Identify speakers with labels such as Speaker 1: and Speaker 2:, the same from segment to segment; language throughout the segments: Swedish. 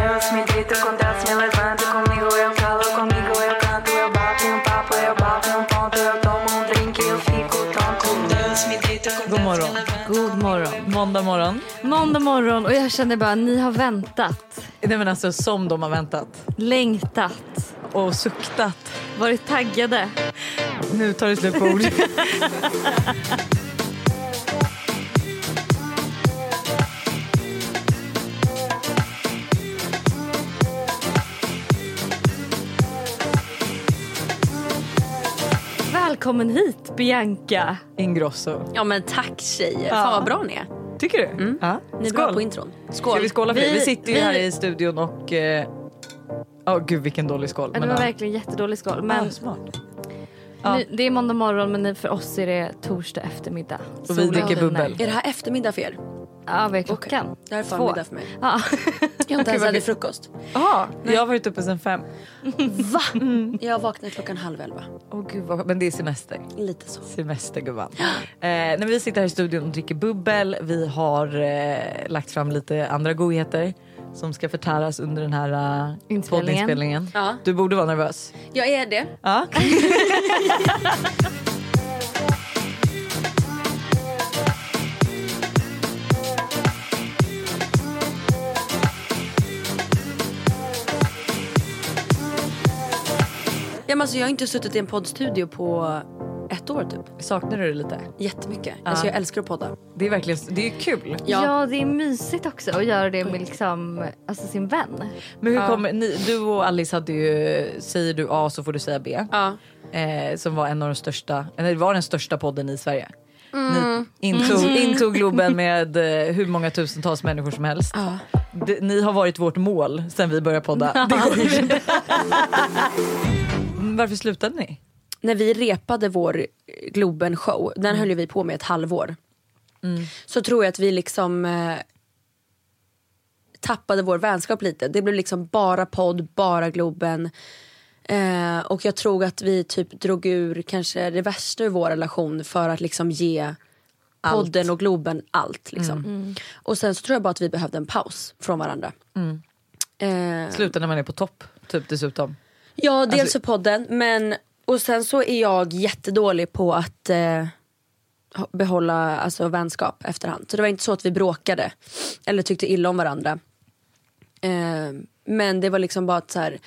Speaker 1: Elas me gritam quando elas me levantam. Comigo eu calo, comigo eu canto. Eu bato em um papo, eu bato em um ponto. Eu tomo um drink, eu fico tonto. Quando elas me gritam quando
Speaker 2: God
Speaker 1: elas me
Speaker 2: morgon.
Speaker 1: levantam.
Speaker 3: God morgon.
Speaker 2: Måndag morgon.
Speaker 3: Måndag morgon och jag känner bara, ni har väntat,
Speaker 2: Nej men alltså som de har väntat.
Speaker 3: längtat,
Speaker 2: Och suktat.
Speaker 3: varit taggade.
Speaker 2: Nu tar det slut på ord.
Speaker 3: Välkommen hit Bianca.
Speaker 2: Ingrosso.
Speaker 4: Ja men tack tjejer,
Speaker 2: Ja.
Speaker 4: fan vad bra ni är.
Speaker 2: Tycker du?
Speaker 3: Mm.
Speaker 2: Ja.
Speaker 4: Ni är bra på intron. Skål.
Speaker 2: Ska vi skåla för vi,
Speaker 3: Vi-
Speaker 2: vi sitter ju
Speaker 3: vi-
Speaker 2: här i studion och... eh, Åh gud vilken dålig skål.
Speaker 3: Ja, det
Speaker 2: Men,
Speaker 3: var
Speaker 2: ja.
Speaker 3: verkligen jättedålig skål. Men
Speaker 2: Ja, smart. ja.
Speaker 3: nu, det är måndag morgon men nu för oss är det torsdag eftermiddag.
Speaker 2: vi
Speaker 3: Solen
Speaker 2: dricker
Speaker 3: skiner.
Speaker 2: bubbel.
Speaker 4: Är det här eftermiddag för er?
Speaker 3: Ja, vad är klockan?
Speaker 4: Det här är förmiddag för mig.
Speaker 3: Ja.
Speaker 4: Jag har inte ens
Speaker 2: vad
Speaker 4: ätit
Speaker 2: gud.
Speaker 4: frukost.
Speaker 2: Ah, jag har varit uppe sedan fem.
Speaker 4: Va? Jag vaknade klockan halv elva.
Speaker 2: Åh gud, vad, men det är semester.
Speaker 4: Lite så.
Speaker 2: Semestergumman. Eh, när vi sitter här i studion och dricker bubbel. Vi har eh, lagt fram lite andra godheter som ska förtäras under den här eh,
Speaker 3: Inspelningen.
Speaker 2: poddinspelningen.
Speaker 4: Ja.
Speaker 2: Du borde vara nervös.
Speaker 4: Jag är det.
Speaker 2: Ja.
Speaker 4: Ja, men alltså, jag har inte suttit i en poddstudio på ett år typ.
Speaker 2: Saknar du det lite?
Speaker 4: Jättemycket. Alltså, jag älskar att podda.
Speaker 2: Det är verkligen det är kul.
Speaker 3: Ja. det är mysigt också att göra det med liksom, alltså sin vän.
Speaker 2: Men hur kommer, ni, du och Alice hade ju Säger du A så får du säga B.
Speaker 4: Ja.
Speaker 2: Eh, som var en av de största, eller det var den största podden i Sverige. Ni intog, intog Globen med eh, hur många tusentals människor som helst. D- ni har varit vårt mål sen vi började podda. Det går ju inte. Mm, Varför slutade ni?
Speaker 4: När vi repade vår Globen-show, den höll ju vi på med ett halvår. Så tror jag att vi liksom eh, tappade vår vänskap lite. Det blev liksom bara podd, bara Globen. Eh, och jag tror att vi typ drog ur kanske det värsta ur vår relation för att liksom ge podden och Globen allt. Liksom. Och sen så tror jag bara att vi behövde en paus från varandra. Eh,
Speaker 2: Slutar när man är på topp, typ dessutom.
Speaker 4: Ja, dels
Speaker 2: Alltså-
Speaker 4: för podden. Men, och sen så är jag jättedålig på att eh, ha- behålla alltså, vänskap efterhand. Så det var inte så att vi bråkade eller tyckte illa om varandra. Eh, men det var liksom bara att så här,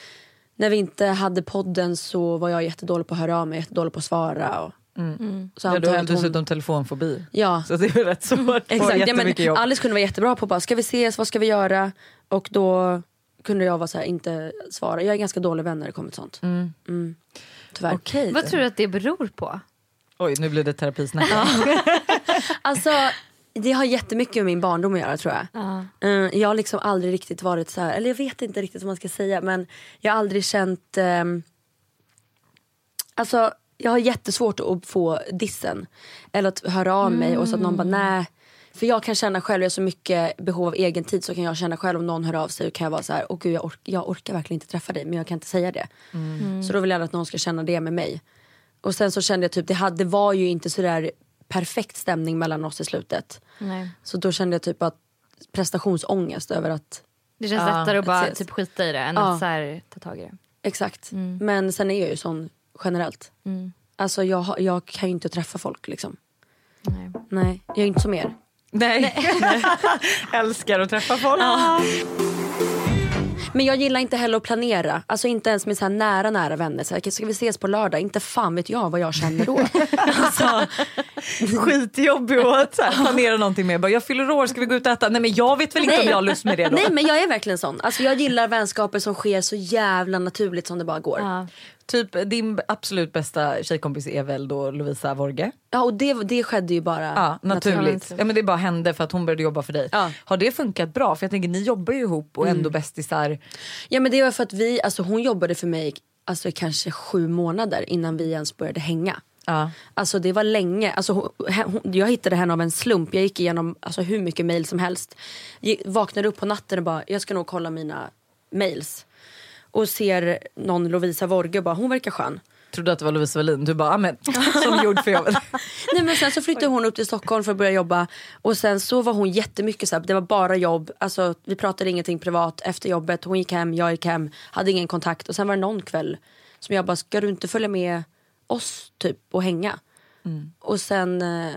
Speaker 4: när vi inte hade podden så var jag jättedålig på att höra av mig, jättedålig på att svara. Och, Så
Speaker 2: Mm. Ja, du
Speaker 4: antar
Speaker 2: har
Speaker 4: jag
Speaker 2: ju
Speaker 4: att hon-
Speaker 2: dessutom telefonfobi.
Speaker 4: Ja.
Speaker 2: Så det är ju rätt svårt. Exakt,
Speaker 4: Exakt, ja, men
Speaker 2: jättemycket jobb.
Speaker 4: Alice kunde vara jättebra på bara, ska vi ses, vad ska vi göra? Och då kunde jag vara så här, inte svara. Jag är ganska dålig vän när det kommer till sånt. Mm. Tyvärr.
Speaker 2: Okej.
Speaker 3: Vad tror du att det beror på?
Speaker 2: Oj, nu blir det terapisnack.
Speaker 4: Alltså, det har jättemycket med min barndom att göra tror jag. Eh, jag har liksom aldrig riktigt varit så här, eller jag vet inte riktigt vad man ska säga men jag har aldrig känt, ehm, alltså jag har jättesvårt att få dissen. Eller att höra av mig och så att någon bara nej. För jag kan känna själv, jag har så mycket behov av egen tid så kan jag känna själv om någon hör av sig och kan jag vara så här, åh gud jag, ork- jag orkar verkligen inte träffa dig men jag kan inte säga det. Så då vill jag att någon ska känna det med mig. Och sen så kände jag typ, det, hade, det var ju inte så där perfekt stämning mellan oss i slutet.
Speaker 3: Nej.
Speaker 4: Så då kände jag typ att prestationsångest över att
Speaker 3: Det känns
Speaker 2: Ja,
Speaker 3: lättare att bara
Speaker 4: precis.
Speaker 3: typ, skita i det än
Speaker 4: Ja.
Speaker 3: att så här, ta tag i det.
Speaker 4: Exakt.
Speaker 2: Mm.
Speaker 4: Men sen är jag ju sån generellt. Alltså jag, har- jag kan ju inte träffa folk liksom.
Speaker 3: Nej.
Speaker 4: Nej, jag är inte som er.
Speaker 2: Nej. Älskar att träffa folk.
Speaker 4: Men jag gillar inte heller att planera. Alltså inte ens med så här nära nära vänner. Så här, ska vi ses på lördag? Inte fan vet jag vad jag känner då. alltså,
Speaker 2: skitjobbig och att så här, planera någonting med. Bara, jag fyller år, ska vi gå ut och äta? Nej men jag vet väl inte om jag har lust med det då.
Speaker 4: nej men jag är verkligen sån. Alltså jag gillar vänskaper som sker så jävla naturligt som det bara går. Ja,
Speaker 3: Ja.
Speaker 2: Typ din absolut bästa tjejkompis är väl då Lovisa Vorge?
Speaker 4: och det, det skedde ju bara
Speaker 2: Ja, naturligt.
Speaker 3: Naturligt.
Speaker 2: Ja, men det bara hände för att hon började jobba för dig.
Speaker 4: Ja.
Speaker 2: Har det funkat bra? För jag tänker ni jobbar ju ihop och ändå bästisar.
Speaker 4: Ja men det var för att vi, alltså hon jobbade för mig alltså i kanske sju månader innan vi ens började hänga.
Speaker 2: Ja.
Speaker 4: Alltså det var länge, alltså hon, hon, jag hittade henne av en slump. Jag gick igenom alltså, hur mycket mail som helst. Ge- vaknade upp på natten och bara, jag ska nog kolla mina mails. Och ser någon Lovisa Vorge och bara, hon verkar skön.
Speaker 2: trodde att det var Lovisa Wallin. Du bara, "Ah, men som gjord för jobbet.
Speaker 4: Nej, men sen så flyttade hon upp till Stockholm för att börja jobba och sen så var hon jättemycket så här, det var bara jobb, alltså vi pratade ingenting privat efter jobbet, hon gick hem, jag gick hem, hade ingen kontakt och sen var det någon kväll som jag bara, ska du inte följa med oss typ och hänga?
Speaker 2: Mm.
Speaker 4: Och sen eh,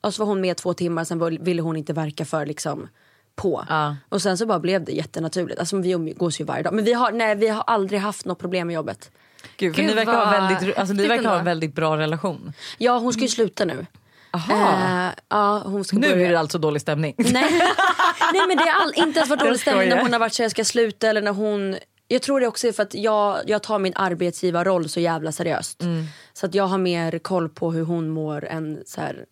Speaker 4: och så var hon med två timmar, sen var- ville hon inte verka för liksom på.
Speaker 2: Ja.
Speaker 4: Och sen så bara blev det jättenaturligt, alltså vi umgås ju varje dag. Men vi har, nej, vi har aldrig haft något problem med jobbet.
Speaker 2: Gud, för
Speaker 3: Gud,
Speaker 2: ni verkar, ha,
Speaker 3: vad
Speaker 2: väldigt, alltså, ni
Speaker 3: häftigt
Speaker 2: verkar ha en
Speaker 3: ändå.
Speaker 2: väldigt bra relation.
Speaker 4: Ja hon ska ju sluta nu.
Speaker 2: Aha.
Speaker 4: Eh, ja, hon ska
Speaker 2: Mm. nu
Speaker 4: börja.
Speaker 2: är det alltså dålig stämning.
Speaker 4: Nej, Nej men det har all, inte ens varit dålig
Speaker 2: Jag
Speaker 4: stämning när
Speaker 2: skojar.
Speaker 4: hon har varit så här, jag ska sluta eller när hon jag tror det också är för att jag, jag tar min arbetsgivarroll så jävla seriöst.
Speaker 2: Mm.
Speaker 4: Så att jag har mer koll på hur hon mår än så här.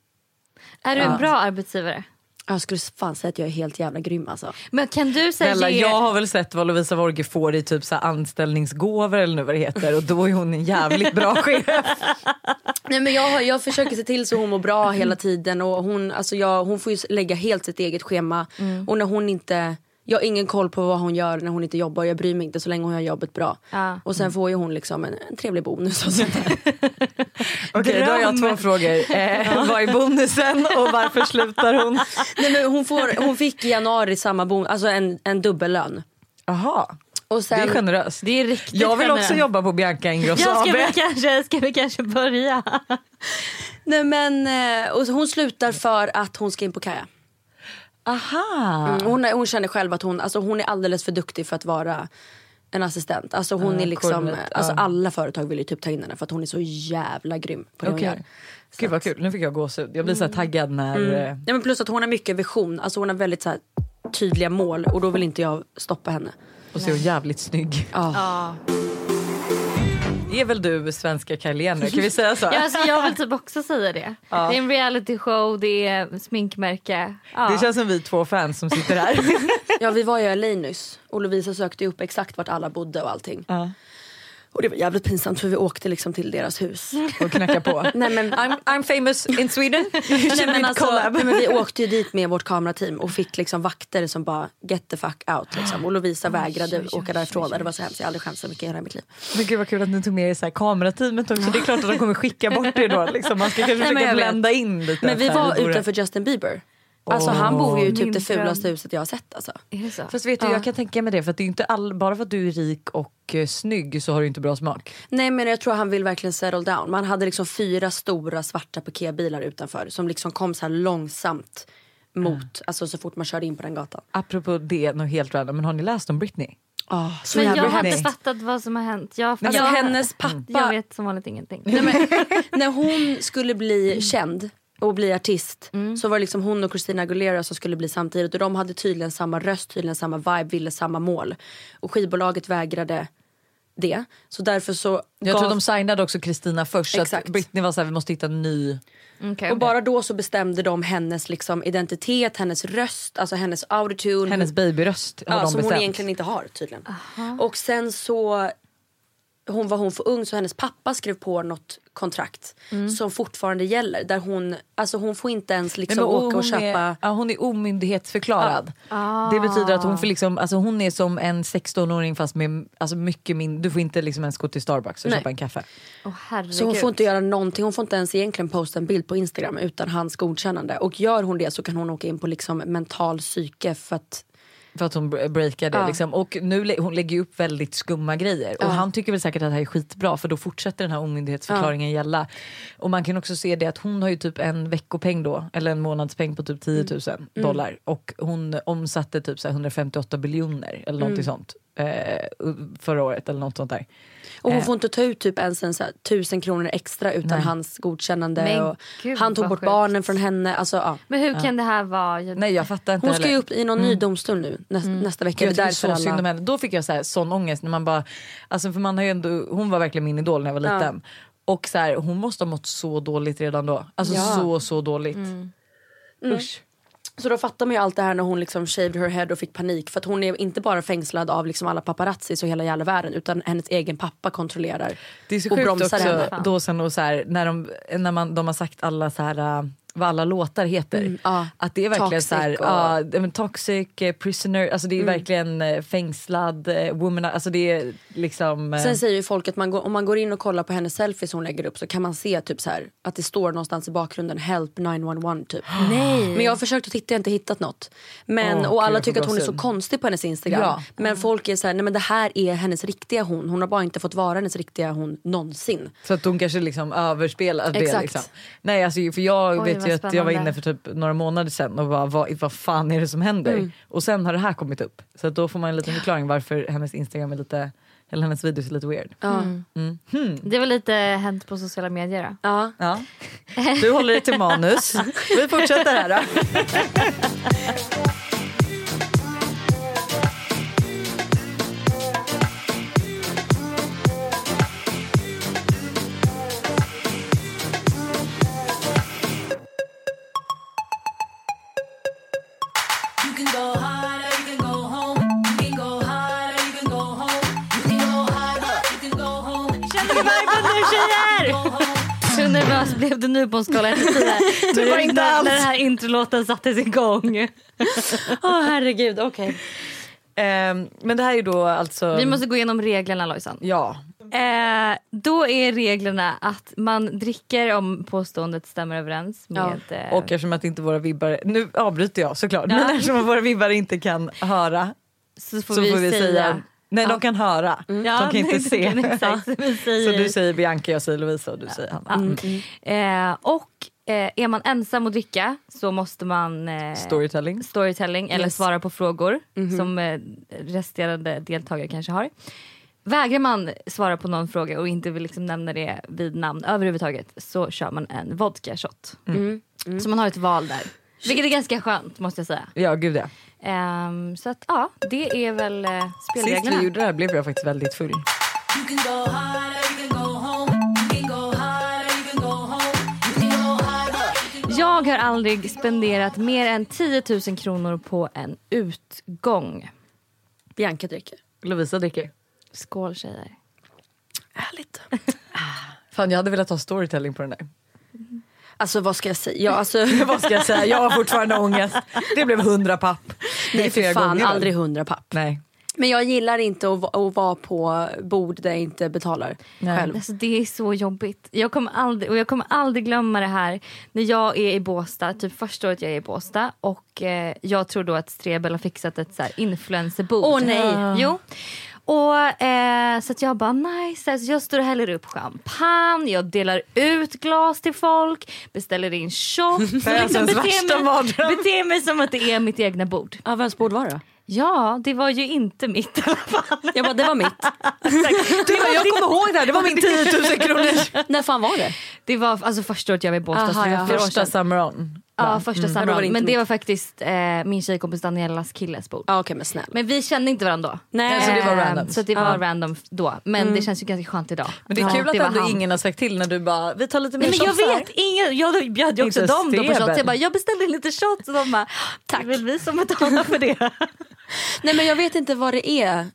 Speaker 3: Är du en bra arbetsgivare?
Speaker 4: Jag skulle fan säga att jag är helt jävla grym alltså.
Speaker 3: Men kan du säga
Speaker 2: Snälla,
Speaker 3: ge...
Speaker 2: jag har väl sett vad Lovisa Worge får i typ så här anställningsgåvor eller nu vad det heter och då är hon en jävligt bra chef.
Speaker 4: Nej men jag, har- jag försöker se till så hon mår bra hela tiden och hon, alltså jag, hon får ju lägga helt sitt eget schema. Och när hon inte, jag har ingen koll på vad hon gör när hon inte jobbar jag bryr mig inte så länge hon gör jobbet bra.
Speaker 3: Ja.
Speaker 4: Och sen får ju hon liksom en, en trevlig bonus och sånt där.
Speaker 2: Okej, då har jag två frågor. Eh, vad är bonusen och varför slutar hon?
Speaker 4: Nej, men hon, får, hon fick i januari samma bon, alltså en, en dubbellön.
Speaker 2: Aha,
Speaker 4: Och
Speaker 2: det
Speaker 4: sen,
Speaker 2: är generöst.
Speaker 3: Det är riktigt
Speaker 2: Jag vill också
Speaker 3: generöst.
Speaker 2: jobba på Bianca Ingrosso
Speaker 3: Ja, ska,
Speaker 2: AB.
Speaker 3: vi kanske, ska vi kanske börja?
Speaker 4: nej, men, eh, och så hon slutar för att hon ska in på kaja.
Speaker 2: Aha.
Speaker 4: Mm, hon, är- hon känner själv att hon, alltså, hon är alldeles för duktig för att vara en assistent. Alltså, hon
Speaker 2: Ah,
Speaker 4: är liksom,
Speaker 2: coordinator,
Speaker 4: eh, alltså,
Speaker 2: ja.
Speaker 4: alla företag vill ju typ ta in henne för att hon är så jävla grym på det
Speaker 2: Okej.
Speaker 4: hon gör. Så
Speaker 2: Gud
Speaker 4: att-
Speaker 2: vad kul, nu fick jag gåshud. Jag blir så här taggad när...
Speaker 3: Mm.
Speaker 2: eh,
Speaker 4: Nej, men plus att hon har mycket vision, alltså, hon har väldigt så här, tydliga mål och då vill inte jag stoppa henne.
Speaker 2: Och så är hon jävligt snygg.
Speaker 4: Ja.
Speaker 2: Det är väl du svenska Kylie nu, kan vi säga så?
Speaker 3: Ja, alltså, jag vill typ också säga det. Det är en reality show, det är sminkmärke. Ja.
Speaker 2: Det känns som vi två fans som sitter här.
Speaker 4: Ja vi var ju i LA nyss och Lovisa sökte ju upp exakt vart alla bodde och allting.
Speaker 2: Ja.
Speaker 4: Och det var jävligt pinsamt för vi åkte liksom till deras hus.
Speaker 2: och knacka på.
Speaker 4: Nej men,
Speaker 2: I'm, I'm famous in Sweden.
Speaker 4: nej, men, alltså, nej,
Speaker 2: collab?
Speaker 4: men vi åkte ju dit med vårt kamerateam och fick liksom vakter som bara get the fuck out liksom. Och Lovisa vägrade åka därifrån och det var så hemskt. Jag har aldrig skämt så mycket i hela mitt liv.
Speaker 2: Men gud vad kul att ni tog med er så här kamerateamet också. Det är klart att de kommer skicka bort er då. Liksom. Man ska kanske
Speaker 4: men
Speaker 2: försöka
Speaker 4: jag vet.
Speaker 2: blända in lite.
Speaker 4: Men vi
Speaker 2: så här,
Speaker 4: var
Speaker 2: hur bor det?
Speaker 4: utanför Justin Bieber. Alltså han bor ju i typ
Speaker 3: Min
Speaker 4: det fulaste
Speaker 3: dröm.
Speaker 4: huset jag har sett alltså.
Speaker 3: Är det så?
Speaker 2: Fast vet du, jag kan tänka mig det. För att det är ju inte all, bara för att du är rik och eh, snygg så har du inte bra smak.
Speaker 4: Nej men jag tror han vill verkligen settle down. Man hade liksom fyra stora svarta piketbilar utanför som liksom kom så här långsamt mot, alltså så fort man körde in på den gatan.
Speaker 2: Apropå det, något helt random. Men har ni läst om Britney? Ah,
Speaker 4: Oh, så
Speaker 3: Men jag
Speaker 4: jävla
Speaker 3: har
Speaker 4: hemskt.
Speaker 2: hemskt.
Speaker 3: inte fattat vad som har hänt. Jag, har
Speaker 4: Alltså,
Speaker 3: fattat- Mm.
Speaker 4: hennes pappa,
Speaker 3: jag vet som vanligt ingenting.
Speaker 4: när hon skulle
Speaker 2: Mm.
Speaker 4: bli känd och bli artist så var det liksom hon och Christina Aguilera som skulle bli samtidigt och de hade tydligen samma röst, tydligen samma vibe, ville samma mål. Och skivbolaget vägrade det. Så därför så
Speaker 2: Jag tror
Speaker 4: gav-
Speaker 2: de signade också Kristina först. Så att
Speaker 4: Exakt.
Speaker 2: Britney var så här, vi måste hitta en ny.
Speaker 3: Mm, Okej.
Speaker 4: Och bara då så bestämde de hennes liksom, identitet, hennes röst, alltså hennes autotune.
Speaker 2: Hennes babyröst har
Speaker 4: ja,
Speaker 2: de
Speaker 4: som
Speaker 2: bestämt.
Speaker 4: hon egentligen inte har tydligen. Och sen så hon var hon för ung så hennes pappa skrev på något kontrakt som fortfarande gäller. Där hon, alltså hon får inte ens liksom
Speaker 2: Nej, Mm. men
Speaker 4: åka och köpa. Ah.
Speaker 2: Är, ja, hon är omyndighetsförklarad. Det betyder att hon, får liksom, alltså hon är som en 16-åring fast med alltså mycket mindre. Du får inte liksom ens gå till Starbucks och
Speaker 4: Nej.
Speaker 2: köpa en kaffe.
Speaker 3: Åh, herregud.
Speaker 4: Så hon får inte göra någonting. Hon får inte ens egentligen posta en bild på Instagram utan hans godkännande. Och gör hon det så kan hon åka in på liksom mental psyke för att
Speaker 2: För att hon br- breakade.
Speaker 4: Ja.
Speaker 2: Liksom. Och nu lä- hon lägger ju upp väldigt skumma grejer.
Speaker 4: Ah.
Speaker 2: Och han tycker väl säkert att det här är skitbra för då fortsätter den här omyndighetsförklaringen
Speaker 4: Ah.
Speaker 2: gälla. Och man kan också se det att hon har ju typ en veckopeng då, eller en månadspeng på
Speaker 4: Mm.
Speaker 2: typ 10 000 dollar. Och hon omsatte typ så här 158 biljoner eller någonting
Speaker 4: Mm.
Speaker 2: sånt. Eh, förra året eller något sånt där.
Speaker 4: Och hon
Speaker 2: Eh.
Speaker 4: får inte ta ut typ ens en så här, tusen kronor extra utan
Speaker 2: Nej.
Speaker 4: hans godkännande.
Speaker 3: Men
Speaker 4: och
Speaker 3: gud,
Speaker 4: han tog
Speaker 3: vad
Speaker 4: bort
Speaker 3: sjukt.
Speaker 4: barnen från henne. Alltså, ja.
Speaker 3: Men hur kan det här vara?
Speaker 2: Nej jag fattar inte
Speaker 4: Hon ska
Speaker 2: heller.
Speaker 4: ju upp i någon ny domstol nu nä- nästa vecka.
Speaker 2: Mm. Jag
Speaker 4: det är
Speaker 2: tycker så
Speaker 4: därför
Speaker 2: synd om
Speaker 4: alla...
Speaker 2: henne. Då fick jag så här, sån ångest. När man bara, alltså för man har ju ändå, hon var verkligen min idol när jag var
Speaker 4: Ja.
Speaker 2: liten. Och så här, hon måste ha mått så dåligt redan då. Alltså
Speaker 4: Ja. Mm.
Speaker 2: så, så dåligt. Mm. Usch.
Speaker 4: Så då fattar man ju allt det här när hon liksom shaved her head och fick panik. För att hon är inte bara fängslad av liksom alla paparazzis och hela jävla världen utan hennes egen pappa kontrollerar
Speaker 2: Det är så
Speaker 4: och
Speaker 2: sjukt
Speaker 4: bromsar
Speaker 2: också
Speaker 4: henne.
Speaker 2: då sen och så här, när, de, när man, de har sagt alla så här, äh, vad alla låtar heter.
Speaker 4: Mm, ja.
Speaker 2: Att det är verkligen
Speaker 4: Toxic
Speaker 2: så här,
Speaker 4: och- Mm.
Speaker 2: ja, det- men toxic, eh, prisoner, alltså det är verkligen eh, fängslad, eh, woman, alltså det är liksom... eh,
Speaker 4: Sen säger ju folk att man går, om man går in och kollar på hennes selfies hon lägger upp så kan man se typ så här, att det står någonstans i bakgrunden help 911 typ.
Speaker 3: Nej.
Speaker 4: Men jag har försökt att titta, jag har inte hittat något. Men,
Speaker 2: Åh, gud,
Speaker 4: och alla
Speaker 2: jag får
Speaker 4: tycker att hon är så
Speaker 2: gåshud.
Speaker 4: konstig på hennes Instagram.
Speaker 2: Ja.
Speaker 4: Men folk är så här, nej men det här är hennes riktiga hon. Hon har bara inte fått vara hennes riktiga hon någonsin.
Speaker 2: Så att hon kanske liksom överspelar det.
Speaker 4: Exakt.
Speaker 2: Liksom. Nej, alltså, för jag
Speaker 3: Oj,
Speaker 2: vet
Speaker 3: vad
Speaker 2: ju att jag var
Speaker 3: spännande.
Speaker 2: inne för typ några månader sedan och bara, vad, vad fan är det som händer?
Speaker 3: Mm.
Speaker 2: Och sen har det här kommit upp. Så att då får man en liten förklaring varför hennes Instagram är lite, eller hennes videos är lite weird.
Speaker 4: Ja.
Speaker 3: Det var lite hänt på sociala medier då.
Speaker 4: Ja.
Speaker 2: Ja. Du håller dig till manus. Vi fortsätter här då.
Speaker 3: Känner ni viben nu tjejer? Så nervös blev du nu på en skala 1 till 10?
Speaker 2: var det inte alls.
Speaker 3: När den här introlåten sattes igång. Åh herregud, okej.
Speaker 2: Ehm, men det här är ju då alltså...
Speaker 3: Vi måste gå igenom reglerna Lojsan.
Speaker 2: Ja.
Speaker 3: Eh, då är reglerna att man dricker om påståendet stämmer överens med... eh,
Speaker 2: Och eftersom att inte våra vibbar, nu avbryter jag såklart, men eftersom att våra vibbar inte kan höra
Speaker 3: så får
Speaker 2: så
Speaker 3: vi,
Speaker 2: får vi
Speaker 3: säga... Mm.
Speaker 2: säga, nej de kan höra,
Speaker 3: Ja, Mm.
Speaker 2: de kan inte
Speaker 3: nej,
Speaker 2: se.
Speaker 3: Exakt, vi
Speaker 2: Så
Speaker 3: säger...
Speaker 2: du säger Bianca, jag säger Lovisa och du säger Hanna. Mm.
Speaker 3: Ja.
Speaker 4: Mm.
Speaker 3: Eh, och eh, är man ensam och dricka så måste man... Eh,
Speaker 2: Storytelling.
Speaker 3: storytelling eller
Speaker 4: Yes.
Speaker 3: svara på frågor
Speaker 2: Mhm.
Speaker 3: som eh, resterande deltagare kanske har. Vägrar man svara på någon fråga och inte vill liksom nämna det vid namn överhuvudtaget så kör man en vodka shot.
Speaker 2: Mm.
Speaker 3: Så man har ett val där. Vilket är ganska skönt måste jag säga.
Speaker 2: Ja, gud ja.
Speaker 3: Ehm, så att ja, det är väl eh,
Speaker 2: Sist vi
Speaker 3: spelreglerna.
Speaker 2: gjorde det här blev jag faktiskt väldigt full.
Speaker 3: Jag har aldrig spenderat mer än 10 000 kronor på en utgång.
Speaker 4: Bianca dricker.
Speaker 2: Lovisa dricker.
Speaker 3: Skål tjejer.
Speaker 4: Härligt.
Speaker 2: Fan jag hade velat ha storytelling på den där.
Speaker 4: Alltså vad ska jag säga? Ja, alltså,
Speaker 2: Vad ska jag säga, jag har fortfarande ångest. Det blev hundra papp. Det
Speaker 4: nej
Speaker 2: är
Speaker 4: för
Speaker 2: flera
Speaker 4: fan,
Speaker 2: gånger.
Speaker 4: aldrig hundra papp.
Speaker 2: Nej.
Speaker 4: Men jag gillar inte att, va- att vara på bord där jag inte betalar
Speaker 2: Nej.
Speaker 4: själv.
Speaker 3: Alltså, det är så jobbigt. Jag kommer, aldrig, och jag kommer aldrig glömma det här när jag är i Båstad, typ första året jag är i Båstad och eh, jag tror då att Strebel har fixat ett så här influencerbord.
Speaker 4: Åh, nej.
Speaker 3: Jo. Och, eh, så att jag bara nice, alltså, jag står och häller upp champagne, jag delar ut glas till folk, beställer in shots.
Speaker 2: Det är alltså ens värsta mardröm.
Speaker 3: beter mig som att det är mitt egna bord.
Speaker 4: Ja, vems bord var det?
Speaker 3: Ja, det var ju inte mitt i alla fall.
Speaker 4: Jag bara, det var mitt.
Speaker 2: Det var, jag kommer ihåg det här, det var min 10 000 kronor.
Speaker 4: När fan var det?
Speaker 3: Det var alltså första året jag var i Båstad.
Speaker 4: Aha,
Speaker 3: så det var
Speaker 4: ja.
Speaker 3: fyra år
Speaker 2: Första
Speaker 3: sedan.
Speaker 2: summer on.
Speaker 3: Ja, första
Speaker 4: Ja, då var det
Speaker 3: samlaget.
Speaker 4: inte
Speaker 3: Mm. Men det
Speaker 4: mitt.
Speaker 3: var faktiskt eh, min tjejkompis Daniellas killes bord.
Speaker 4: Ja, Okej men snälla.
Speaker 3: Men vi kände inte varandra då.
Speaker 4: Nej.
Speaker 2: Så det var
Speaker 3: Eh,
Speaker 2: random.
Speaker 3: Så att det var Mm. random då. Men det känns ju ganska skönt idag.
Speaker 2: Men det är
Speaker 3: Ja,
Speaker 2: kul att
Speaker 3: var
Speaker 2: ändå
Speaker 3: han.
Speaker 2: ingen har sagt till när du bara, vi tar lite mer
Speaker 3: Nej, men jag
Speaker 2: shots här.
Speaker 3: vet, ingen, jag bjöd ju också
Speaker 2: Inte
Speaker 3: dem då på
Speaker 2: Steven.
Speaker 3: shots. Jag, bara, jag beställde lite shots och de bara "Ah, tack. Det är väl vi som betalar för det.
Speaker 4: Nej men jag vet inte vad det är.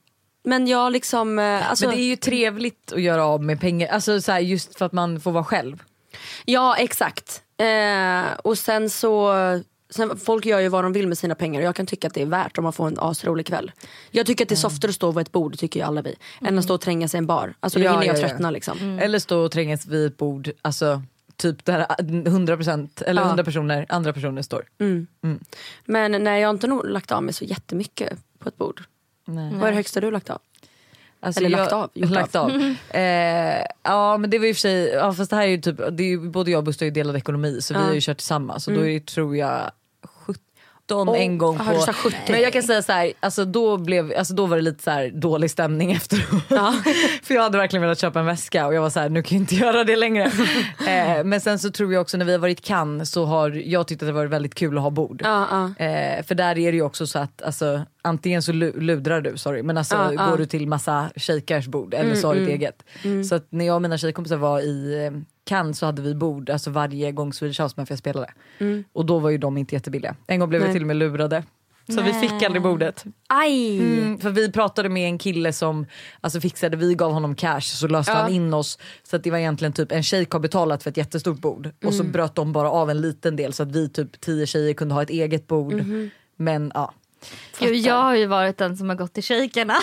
Speaker 4: Men jag liksom, eh, alltså,
Speaker 2: Men det är ju trevligt att göra av med pengar, alltså så här, just för att man får vara själv.
Speaker 4: ja exakt. Eh, och sen så, sen, folk gör ju vad de vill med sina pengar och jag kan tycka att det är värt om man får en asrolig kväll. Jag tycker att det är softare att stå vid ett bord, tycker ju alla vi, än att stå och tränga sig i en bar. Alltså då
Speaker 2: Ja,
Speaker 4: hinner jag
Speaker 2: ja, ja.
Speaker 4: tröttna liksom.
Speaker 3: Mm.
Speaker 2: Eller stå och trängas vid ett bord, alltså typ där 100% eller
Speaker 4: Ja.
Speaker 2: 100 personer, andra personer står.
Speaker 4: Mm. Men nej jag har inte nog lagt av mig så jättemycket på ett bord.
Speaker 2: Nej.
Speaker 4: Vad är det högsta du har lagt av?
Speaker 2: Alltså,
Speaker 4: Eller lagt av, gjort
Speaker 2: lagt av. eh, ja men det var ju i och för sig, ja, fast det här är ju typ, det är ju, både jag och Buster har ju delad ekonomi så vi har ju kört tillsammans så då är det tror jag 17 en gång
Speaker 4: aha, Mm. du
Speaker 2: på...
Speaker 4: sa 17.
Speaker 2: Men jag kan säga så här, alltså då, blev, alltså då var det lite så här dålig stämning efteråt. för jag hade verkligen velat köpa en väska och jag var så här, nu kan jag inte göra det längre. eh, men sen så tror jag också när vi har varit i Cannes så har jag tyckt att det varit väldigt kul att ha bord.
Speaker 4: Ja, ja.
Speaker 2: Eh, för där är det ju också så att alltså, antingen så lu- ludrar du, sorry, men alltså
Speaker 4: Ja, ja. Mm,
Speaker 2: går du till massa shejkars bord eller så har du ett eget. Så att när jag och mina tjejkompisar var i eh, Cannes så hade vi bord alltså varje gång Swedish House Mafia spelade. Och då var ju de inte jättebilliga. En gång blev vi
Speaker 4: Mm. Nej.
Speaker 2: till och med lurade. Så vi fick aldrig bordet.
Speaker 3: Aj!
Speaker 2: Mm, för vi pratade med en kille som alltså, fixade, vi gav honom cash så löste han in oss. Så att det var egentligen typ en tjej har betalat för ett jättestort bord och
Speaker 3: Mm.
Speaker 2: så bröt de bara av en liten del så att vi typ tio tjejer kunde ha ett eget bord.
Speaker 3: Mhm.
Speaker 2: Men ja.
Speaker 3: Gud, jag har ju varit den som har gått till shejkerna.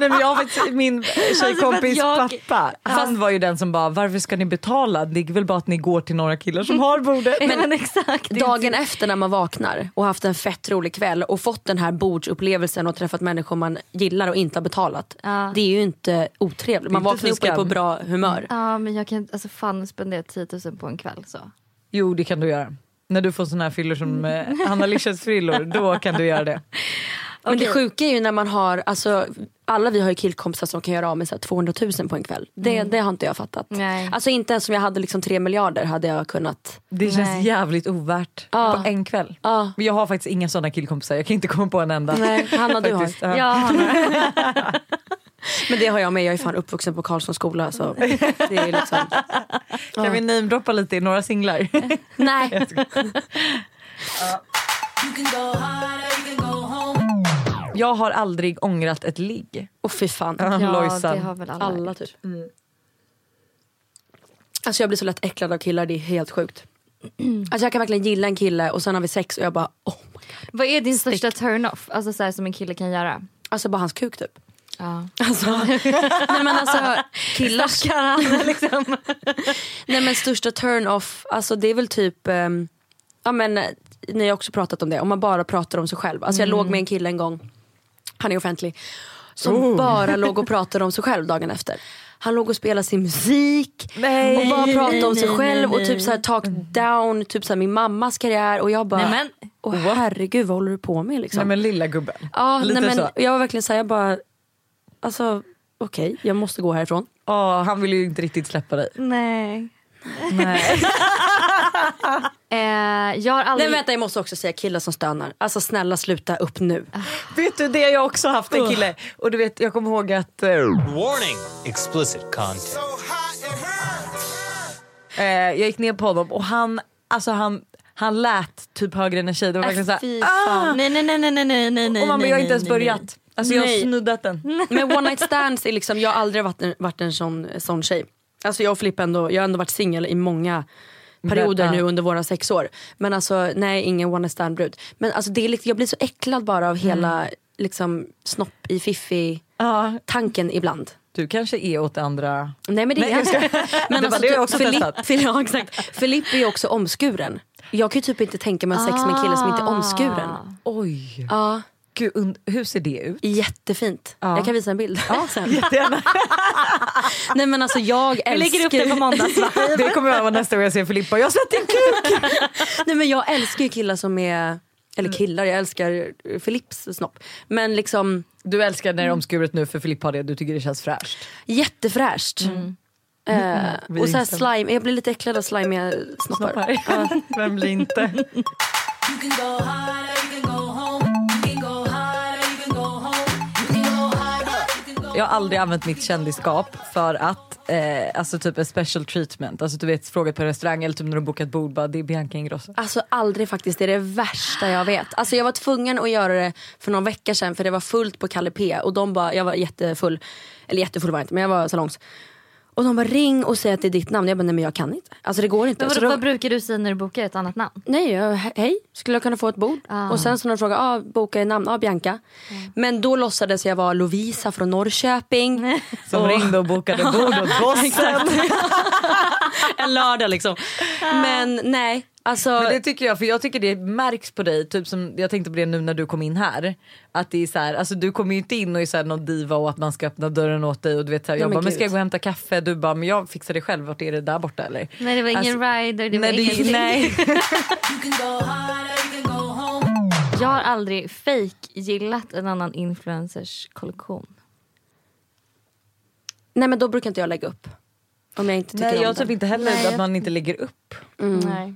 Speaker 2: Nej, men jag har faktiskt, min tjejkompis
Speaker 3: Alltså, för att jag-
Speaker 2: pappa, han var ju den som bara varför ska ni betala? Det är väl bara att ni går till några killar som har bordet.
Speaker 3: Men, exakt. det är
Speaker 4: Dagen efter när man vaknar och haft en fett rolig kväll och fått den här bordsupplevelsen och träffat människor man gillar och inte har betalat.
Speaker 3: Ja.
Speaker 4: Det är ju inte otrevligt. Man
Speaker 2: inte
Speaker 4: vaknar upp och är
Speaker 2: skam.
Speaker 4: på bra humör.
Speaker 3: Ja men jag kan alltså fan spendera 10 000 på en kväll så.
Speaker 2: Jo det kan du göra. När du får såna här fyllor som eh, Hanna Licious frillor, då kan du göra det.
Speaker 4: Men det sjuka är ju när man har, alltså, alla vi har ju killkompisar som kan göra av med så här 200 000 på en kväll. Det, det har inte jag fattat.
Speaker 3: Nej.
Speaker 4: Alltså inte ens om jag hade liksom 3 miljarder hade jag kunnat.
Speaker 2: Det känns
Speaker 3: Nej.
Speaker 2: jävligt ovärt på en kväll.
Speaker 4: Ja.
Speaker 2: Men jag har faktiskt inga såna killkompisar, jag kan inte komma på en enda.
Speaker 4: Nej, Hanna du har.
Speaker 2: Faktiskt, ja.
Speaker 3: Jag har några.
Speaker 4: Men det har jag med, jag är fan uppvuxen på Karlssons skola. Så det är liksom...
Speaker 2: Kan vi namedroppa lite i några singlar?
Speaker 4: Nej.
Speaker 2: jag har aldrig ångrat ett ligg.
Speaker 4: Åh fy fan.
Speaker 3: Ja
Speaker 2: Lojsan.
Speaker 3: det har väl alla.
Speaker 4: Alla typ. Alltså jag blir så lätt äcklad av killar, det är helt sjukt. Alltså jag kan verkligen gilla en kille och sen har vi sex och jag bara oh my God.
Speaker 3: Vad är din största turn-off? Alltså så här, som en kille kan göra.
Speaker 4: Alltså bara hans kuk typ.
Speaker 3: Ja.
Speaker 4: Alltså, nej men alltså killars...
Speaker 3: liksom.
Speaker 4: nej men största turn-off, alltså det är väl typ, ehm, ja men eh, ni har också pratat om det, om man bara pratar om sig själv. Alltså jag
Speaker 3: Mm.
Speaker 4: låg med en kille en gång, han är offentlig, som
Speaker 3: Oh.
Speaker 4: bara låg och pratade om sig själv dagen efter. Han låg och spelade sin musik
Speaker 2: Nej,
Speaker 4: och bara pratade om
Speaker 3: nej,
Speaker 4: sig
Speaker 3: nej,
Speaker 4: själv
Speaker 3: nej,
Speaker 4: och typ
Speaker 3: nej.
Speaker 4: så här talk down, typ så här min mammas karriär och jag bara,
Speaker 3: Nej, men-
Speaker 4: åh herregud vad håller du på med liksom?
Speaker 2: Nej men lilla gubben.
Speaker 4: Ja,
Speaker 2: Lite
Speaker 4: nej, men,
Speaker 2: så.
Speaker 4: Jag var verkligen såhär, jag bara, alltså okej, jag måste gå härifrån.
Speaker 2: Åh, han vill ju inte riktigt släppa dig.
Speaker 3: Nej.
Speaker 2: Nej.
Speaker 3: Eh, jag har
Speaker 4: Nej
Speaker 3: aldrig...
Speaker 4: men vänta jag måste också säga killar som stönar. Alltså snälla sluta upp nu.
Speaker 2: vet du, det har jag också haft en kille. Och du vet, jag kommer ihåg att eh,
Speaker 5: Warning explicit content.
Speaker 2: Eh, jag gick ner på honom och han, alltså han, han lät typ högre än en tjej. Det var
Speaker 3: Äh,
Speaker 2: verkligen
Speaker 3: fy
Speaker 2: såhär,
Speaker 3: fan.
Speaker 2: ah!
Speaker 3: Nej nej nej nej nej nej nej nej.
Speaker 2: Och man bara, jag har inte ens
Speaker 3: nej, nej. Mm.
Speaker 2: börjat. Alltså jag har
Speaker 4: Nej.
Speaker 2: snuddat den.
Speaker 4: Men one night stands är liksom, jag har aldrig varit en, varit en sån, sån tjej. Alltså jag och Filippa ändå, jag har ändå varit singel i många perioder
Speaker 2: Men, ja.
Speaker 4: nu under våra sex år. Men alltså nej ingen one night stand brud. Men alltså det är, liksom- jag blir så äcklad bara av hela
Speaker 2: Mm.
Speaker 4: liksom snopp i fiffi
Speaker 2: Ja,
Speaker 4: tanken ibland.
Speaker 2: du kanske är åt det andra.
Speaker 4: Nej men det
Speaker 2: Nej,
Speaker 4: är
Speaker 2: jag ska-
Speaker 4: jag Men alltså, typ
Speaker 2: Det var det jag också
Speaker 4: Filipp-
Speaker 2: testat.
Speaker 4: Filipp- ja, exakt. Filipp är ju också omskuren. Jag kan ju typ inte tänka mig att ha sex med en kille som
Speaker 2: Ah.
Speaker 4: inte är omskuren.
Speaker 3: Ah.
Speaker 2: Oj,
Speaker 4: Ja,
Speaker 2: Gud, und- hur ser det ut?
Speaker 4: jättefint. Jag kan visa en bild sen.
Speaker 2: Jättegärna.
Speaker 4: Nej men alltså jag älskar...
Speaker 3: lägger upp det på måndags va?
Speaker 2: Det kommer jag vara nästa gång jag ser Filippa. Jag har sett din kuk!
Speaker 4: Nej men jag älskar ju killar som är... Eller
Speaker 2: Mm.
Speaker 4: killar, jag älskar eh, Filipps snopp. Men liksom
Speaker 2: Du älskar när det är omskuret nu för Filippa har det. Du tycker det känns fräscht.
Speaker 4: jättefräscht. Eh,
Speaker 2: Mm. vi
Speaker 4: och så här
Speaker 2: instämmer.
Speaker 4: slime, jag blir lite äcklad av slimiga snoppar.
Speaker 2: Snoppar. Vem blir inte? Jag har aldrig använt mitt kändisskap för att, eh, alltså typ en special treatment. Alltså du vet frågat på en restaurang eller typ när du bokat bord bara det är Bianca Ingrosso.
Speaker 4: Alltså aldrig faktiskt, det är det värsta jag vet. Alltså jag var tvungen att göra det för någon vecka sedan för det var fullt på Kalle P och de bara, jag var jättefull, eller jättefull var jag inte men jag var salongs. Och de bara ring och säg att det är ditt namn. Jag bara nej men jag kan inte. Alltså det går inte.
Speaker 3: Men
Speaker 4: Så
Speaker 3: vadå,
Speaker 4: de-
Speaker 3: vad brukar du säga när du bokar ett annat namn?
Speaker 4: Nej, jag, he- hej, skulle jag kunna få ett bord? Och sen så när de frågade, ah, boka i namn, ah, Bianca.
Speaker 3: Mm.
Speaker 4: Men då låtsades jag vara Lovisa från Norrköping.
Speaker 2: Som ringde och bokade bord åt bossen.
Speaker 4: en lördag liksom.
Speaker 3: Ah.
Speaker 4: Men nej, alltså.
Speaker 2: Men det tycker jag, för jag tycker det märks på dig, typ som jag tänkte på det nu när du kom in här. Att det är så här, alltså du kommer ju inte in och är så här någon diva och att man ska öppna dörren åt dig och du vet så här, jag
Speaker 4: men
Speaker 2: bara, men ska
Speaker 4: gud.
Speaker 2: jag gå och hämta kaffe? Du bara, men jag fixar det själv, vart är det där borta eller?
Speaker 3: Nej det var ingen
Speaker 2: Alltså,
Speaker 3: rider, det var
Speaker 2: nej,
Speaker 3: ingenting.
Speaker 2: det, nej.
Speaker 3: Jag har aldrig fake gillat en annan influencers kollektion.
Speaker 4: Nej men då brukar inte jag lägga upp. Om jag inte tycker
Speaker 2: nej
Speaker 4: om
Speaker 2: jag
Speaker 4: den.
Speaker 2: typ inte heller
Speaker 3: Nej,
Speaker 2: att
Speaker 3: jag-
Speaker 2: man inte lägger upp.
Speaker 3: Mm. Nej.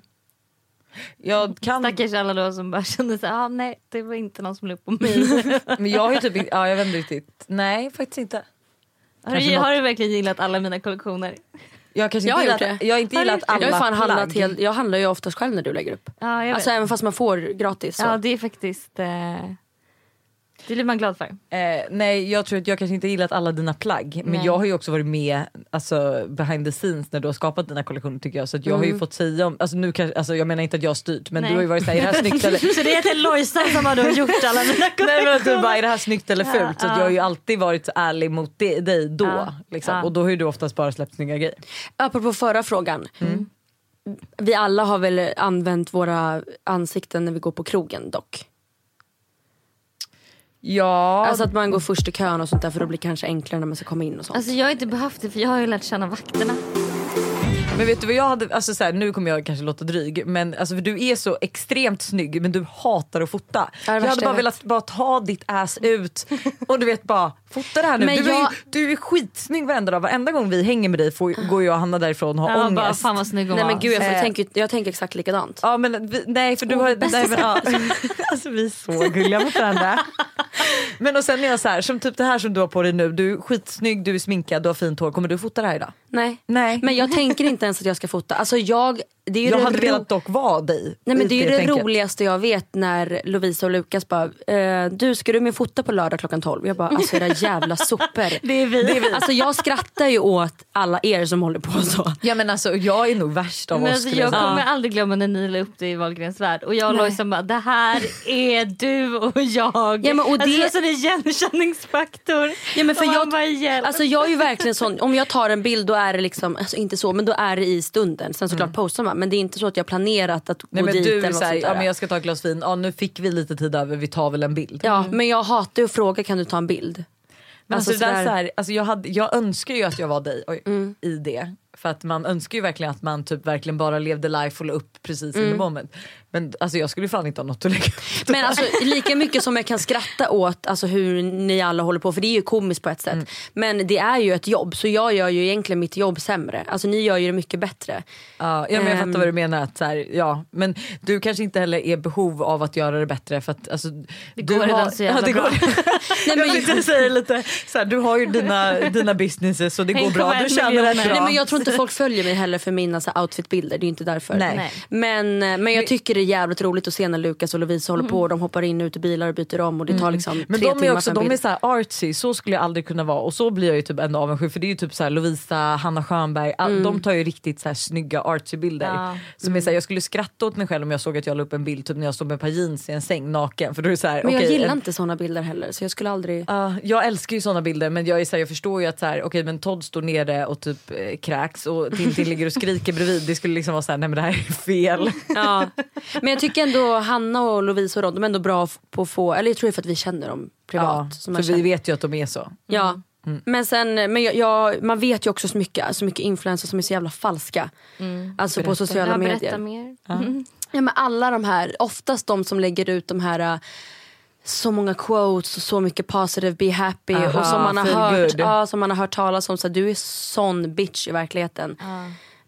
Speaker 2: Jag kan,
Speaker 3: Stackars alla då som bara kände så här, ah, nej det var inte någon som la upp på mig.
Speaker 2: men jag har ju typ inte- ja jag vet inte riktigt, nej faktiskt inte.
Speaker 3: har, du, har du verkligen gillat alla mina kollektioner?
Speaker 2: Jag har kanske
Speaker 4: Jag har
Speaker 2: inte gillat,
Speaker 4: gjort det.
Speaker 2: jag har inte
Speaker 3: Har du
Speaker 2: gillat
Speaker 3: gjort det?
Speaker 2: alla
Speaker 4: Jag, har ju fan
Speaker 2: plagg.
Speaker 4: handlat helt, jag handlar ju oftast själv när du lägger upp.
Speaker 3: Ja, jag
Speaker 4: Alltså
Speaker 3: vet.
Speaker 4: även fast man får gratis. Så.
Speaker 3: ja det är faktiskt... Eh, det blir man glad för.
Speaker 2: Eh, nej jag tror att jag kanske inte har gillat alla dina plagg men
Speaker 3: Nej.
Speaker 2: jag har ju också varit med alltså, behind the scenes när du har skapat dina kollektioner tycker jag så att jag har ju fått säga om, alltså, nu kanske, alltså, jag menar inte att jag har styrt men
Speaker 3: Mm. Nej.
Speaker 2: du har ju varit såhär, är det här snyggt eller
Speaker 3: Så det är till Lojsan som har då gjort alla mina
Speaker 2: Nej men att du bara, är det här snyggt eller fult? så att
Speaker 3: ja.
Speaker 2: jag har ju alltid varit så ärlig mot di- dig då
Speaker 3: Ja,
Speaker 2: liksom.
Speaker 3: ja.
Speaker 2: och då har ju du oftast bara släppt snygga grejer.
Speaker 4: Apropå förra frågan.
Speaker 2: Mm.
Speaker 4: Vi alla har väl använt våra ansikten när vi går på krogen dock.
Speaker 2: Ja,
Speaker 4: Alltså att man går först i kön och sånt där för då blir det kanske enklare när man ska komma in och sånt.
Speaker 3: Alltså jag har inte behövt det för jag har ju lärt känna vakterna.
Speaker 2: men vet du vad jag hade, alltså, så här, nu kommer jag kanske låta dryg men alltså, för du är så extremt snygg men du hatar att fota.
Speaker 4: det
Speaker 2: jag hade
Speaker 4: värsta jag
Speaker 2: bara
Speaker 4: vet.
Speaker 2: velat bara ta ditt ass ut och du vet bara fota det här nu.
Speaker 4: Men
Speaker 2: du, är, ju-
Speaker 4: jag-
Speaker 2: du är skitsnygg varenda dag, varenda gång vi hänger med dig får, går jag och Hanna därifrån och har
Speaker 3: Ja, bara,
Speaker 2: ångest.
Speaker 3: fan vad snygg hon
Speaker 4: Nej
Speaker 3: var.
Speaker 4: men gud jag, får,
Speaker 2: Eh.
Speaker 4: tänker, jag tänker exakt likadant.
Speaker 2: Ja men vi, nej för du har... Nej, men, ja. alltså vi är så gulliga mot varandra. Men och sen är jag så här, som typ det här som du har på dig nu, du är skitsnygg, du är sminkad, du har fint hår, kommer du fota det här idag?
Speaker 4: Nej.
Speaker 2: Nej.
Speaker 4: Men jag tänker inte ens att jag ska fota. Alltså jag, det är ju
Speaker 2: jag
Speaker 4: det
Speaker 2: hade
Speaker 4: ro-
Speaker 2: velat dock vara dig.
Speaker 4: Nej men
Speaker 2: i
Speaker 4: det är ju det
Speaker 2: tänket.
Speaker 4: roligaste jag vet när Lovisa och Lukas bara, eh, du ska du med fota på lördag klockan 12? Jag bara, alltså era jävla sopor.
Speaker 3: Det är vi.
Speaker 4: Alltså jag skrattar ju åt alla er som håller på så.
Speaker 2: Ja men alltså jag är nog värst av
Speaker 3: Men
Speaker 2: oss
Speaker 3: alltså,
Speaker 2: skulle
Speaker 3: jag
Speaker 2: jag säga.
Speaker 3: kommer aldrig glömma när ni la upp det i Wahlgrens värld och jag och Lojsan bara det här är du och jag.
Speaker 4: Ja, men och
Speaker 3: alltså,
Speaker 4: det-
Speaker 3: det var sån igenkänningsfaktor.
Speaker 4: Ja, men för
Speaker 3: och man
Speaker 4: jag-
Speaker 3: bara, hjälp.
Speaker 4: Alltså jag är ju verkligen sån, om jag tar en bild då är det liksom, alltså inte så men då är det i stunden. Sen såklart postar man men det är inte så att jag har planerat att
Speaker 2: Mm. Nej
Speaker 4: gå
Speaker 2: men
Speaker 4: dit
Speaker 2: du
Speaker 4: eller
Speaker 2: är
Speaker 4: något
Speaker 2: såhär,
Speaker 4: sånt där.
Speaker 2: ja men jag ska ta ett glas vin, ja nu fick vi lite tid över, vi tar väl en bild.
Speaker 4: Ja men jag hatar ju att fråga kan du ta en bild?
Speaker 2: Men alltså,
Speaker 4: Alltså
Speaker 2: det där,
Speaker 4: sådär-
Speaker 2: så här, alltså jag, hade, jag önskar ju att jag var dig oj, i det. För att man önskar ju verkligen att man typ verkligen bara levde life och la upp precis in the moment. Men alltså, jag skulle ju fan inte ha något att lägga upp.
Speaker 4: Men alltså lika mycket som jag kan skratta åt alltså, hur ni alla håller på för det är ju komiskt på ett
Speaker 2: Mm.
Speaker 4: sätt. Men det är ju ett jobb så jag gör ju egentligen mitt jobb sämre. Alltså ni gör ju det mycket bättre.
Speaker 2: Ja, ja, men jag
Speaker 4: Ehm.
Speaker 2: fattar vad du menar. Att, så här, ja, men du kanske inte heller är i behov av att göra det bättre. För att, alltså, det
Speaker 3: går redan så jävla
Speaker 2: det
Speaker 3: bra.
Speaker 2: Nej, men, jag tänkte säga lite så här, du har ju dina, dina businesses och det går
Speaker 3: Tänk
Speaker 2: bra.
Speaker 3: om en
Speaker 2: Du tjänar
Speaker 3: miljon
Speaker 2: rätt
Speaker 3: människor-
Speaker 2: bra.
Speaker 4: Nej, men jag tror inte folk följer mig heller för mina så här, outfitbilder, det är ju inte därför.
Speaker 2: Nej.
Speaker 3: Nej.
Speaker 4: Men, men jag tycker det är jävligt roligt att se när Lukas och Lovisa håller på och de hoppar in och ut i bilar och byter om och det tar liksom
Speaker 2: Mm. Men
Speaker 4: tre
Speaker 2: de är
Speaker 4: timmar
Speaker 2: också
Speaker 4: för en
Speaker 2: de är
Speaker 4: bild.
Speaker 2: så här artsy, så skulle jag aldrig kunna vara och så blir jag ju typ ändå avundsjuk för det är ju typ så här Lovisa, Hanna Schönberg, all,
Speaker 4: Mm.
Speaker 2: de tar ju riktigt så här snygga artsy bilder.
Speaker 3: Ja.
Speaker 2: Som är så här, jag skulle skratta åt mig själv om jag såg att jag la upp en bild typ när jag stod med ett par jeans i en säng naken. För då är det så här,
Speaker 4: Men jag
Speaker 2: okej,
Speaker 4: gillar
Speaker 2: en-
Speaker 4: inte såna bilder heller så jag skulle aldrig...
Speaker 2: Ja, Ah, jag älskar ju såna bilder men jag, är så här, jag förstår ju att så här, okej, men Todd står nere och typ eh, kräks och Tintin ligger och skriker bredvid. Det skulle liksom vara så här, nej men det här är
Speaker 4: Oh,
Speaker 2: fel.
Speaker 4: Ja. Men jag tycker ändå Hanna och Lovisa och de, de är ändå bra f- på att få, eller jag tror det är för att vi känner dem privat.
Speaker 2: Ja,
Speaker 4: som
Speaker 2: för
Speaker 4: man
Speaker 2: vi
Speaker 4: känner.
Speaker 2: vet ju att de är så.
Speaker 3: Mm.
Speaker 4: Ja.
Speaker 2: Mm.
Speaker 4: Men sen, men jag, jag, man vet ju också så mycket, så mycket influencers som är så jävla falska. Alltså på sociala
Speaker 3: Mm. Ja,
Speaker 4: medier.
Speaker 3: berätta mer. Mm.
Speaker 4: Ja, men alla de här, oftast de som lägger ut de här äh, så många quotes och så mycket positive, be happy
Speaker 2: Aha,
Speaker 4: och som man, har
Speaker 2: feel
Speaker 4: hört,
Speaker 2: good.
Speaker 4: ja, som man har hört talas om. Så här, du är sån bitch i verkligheten.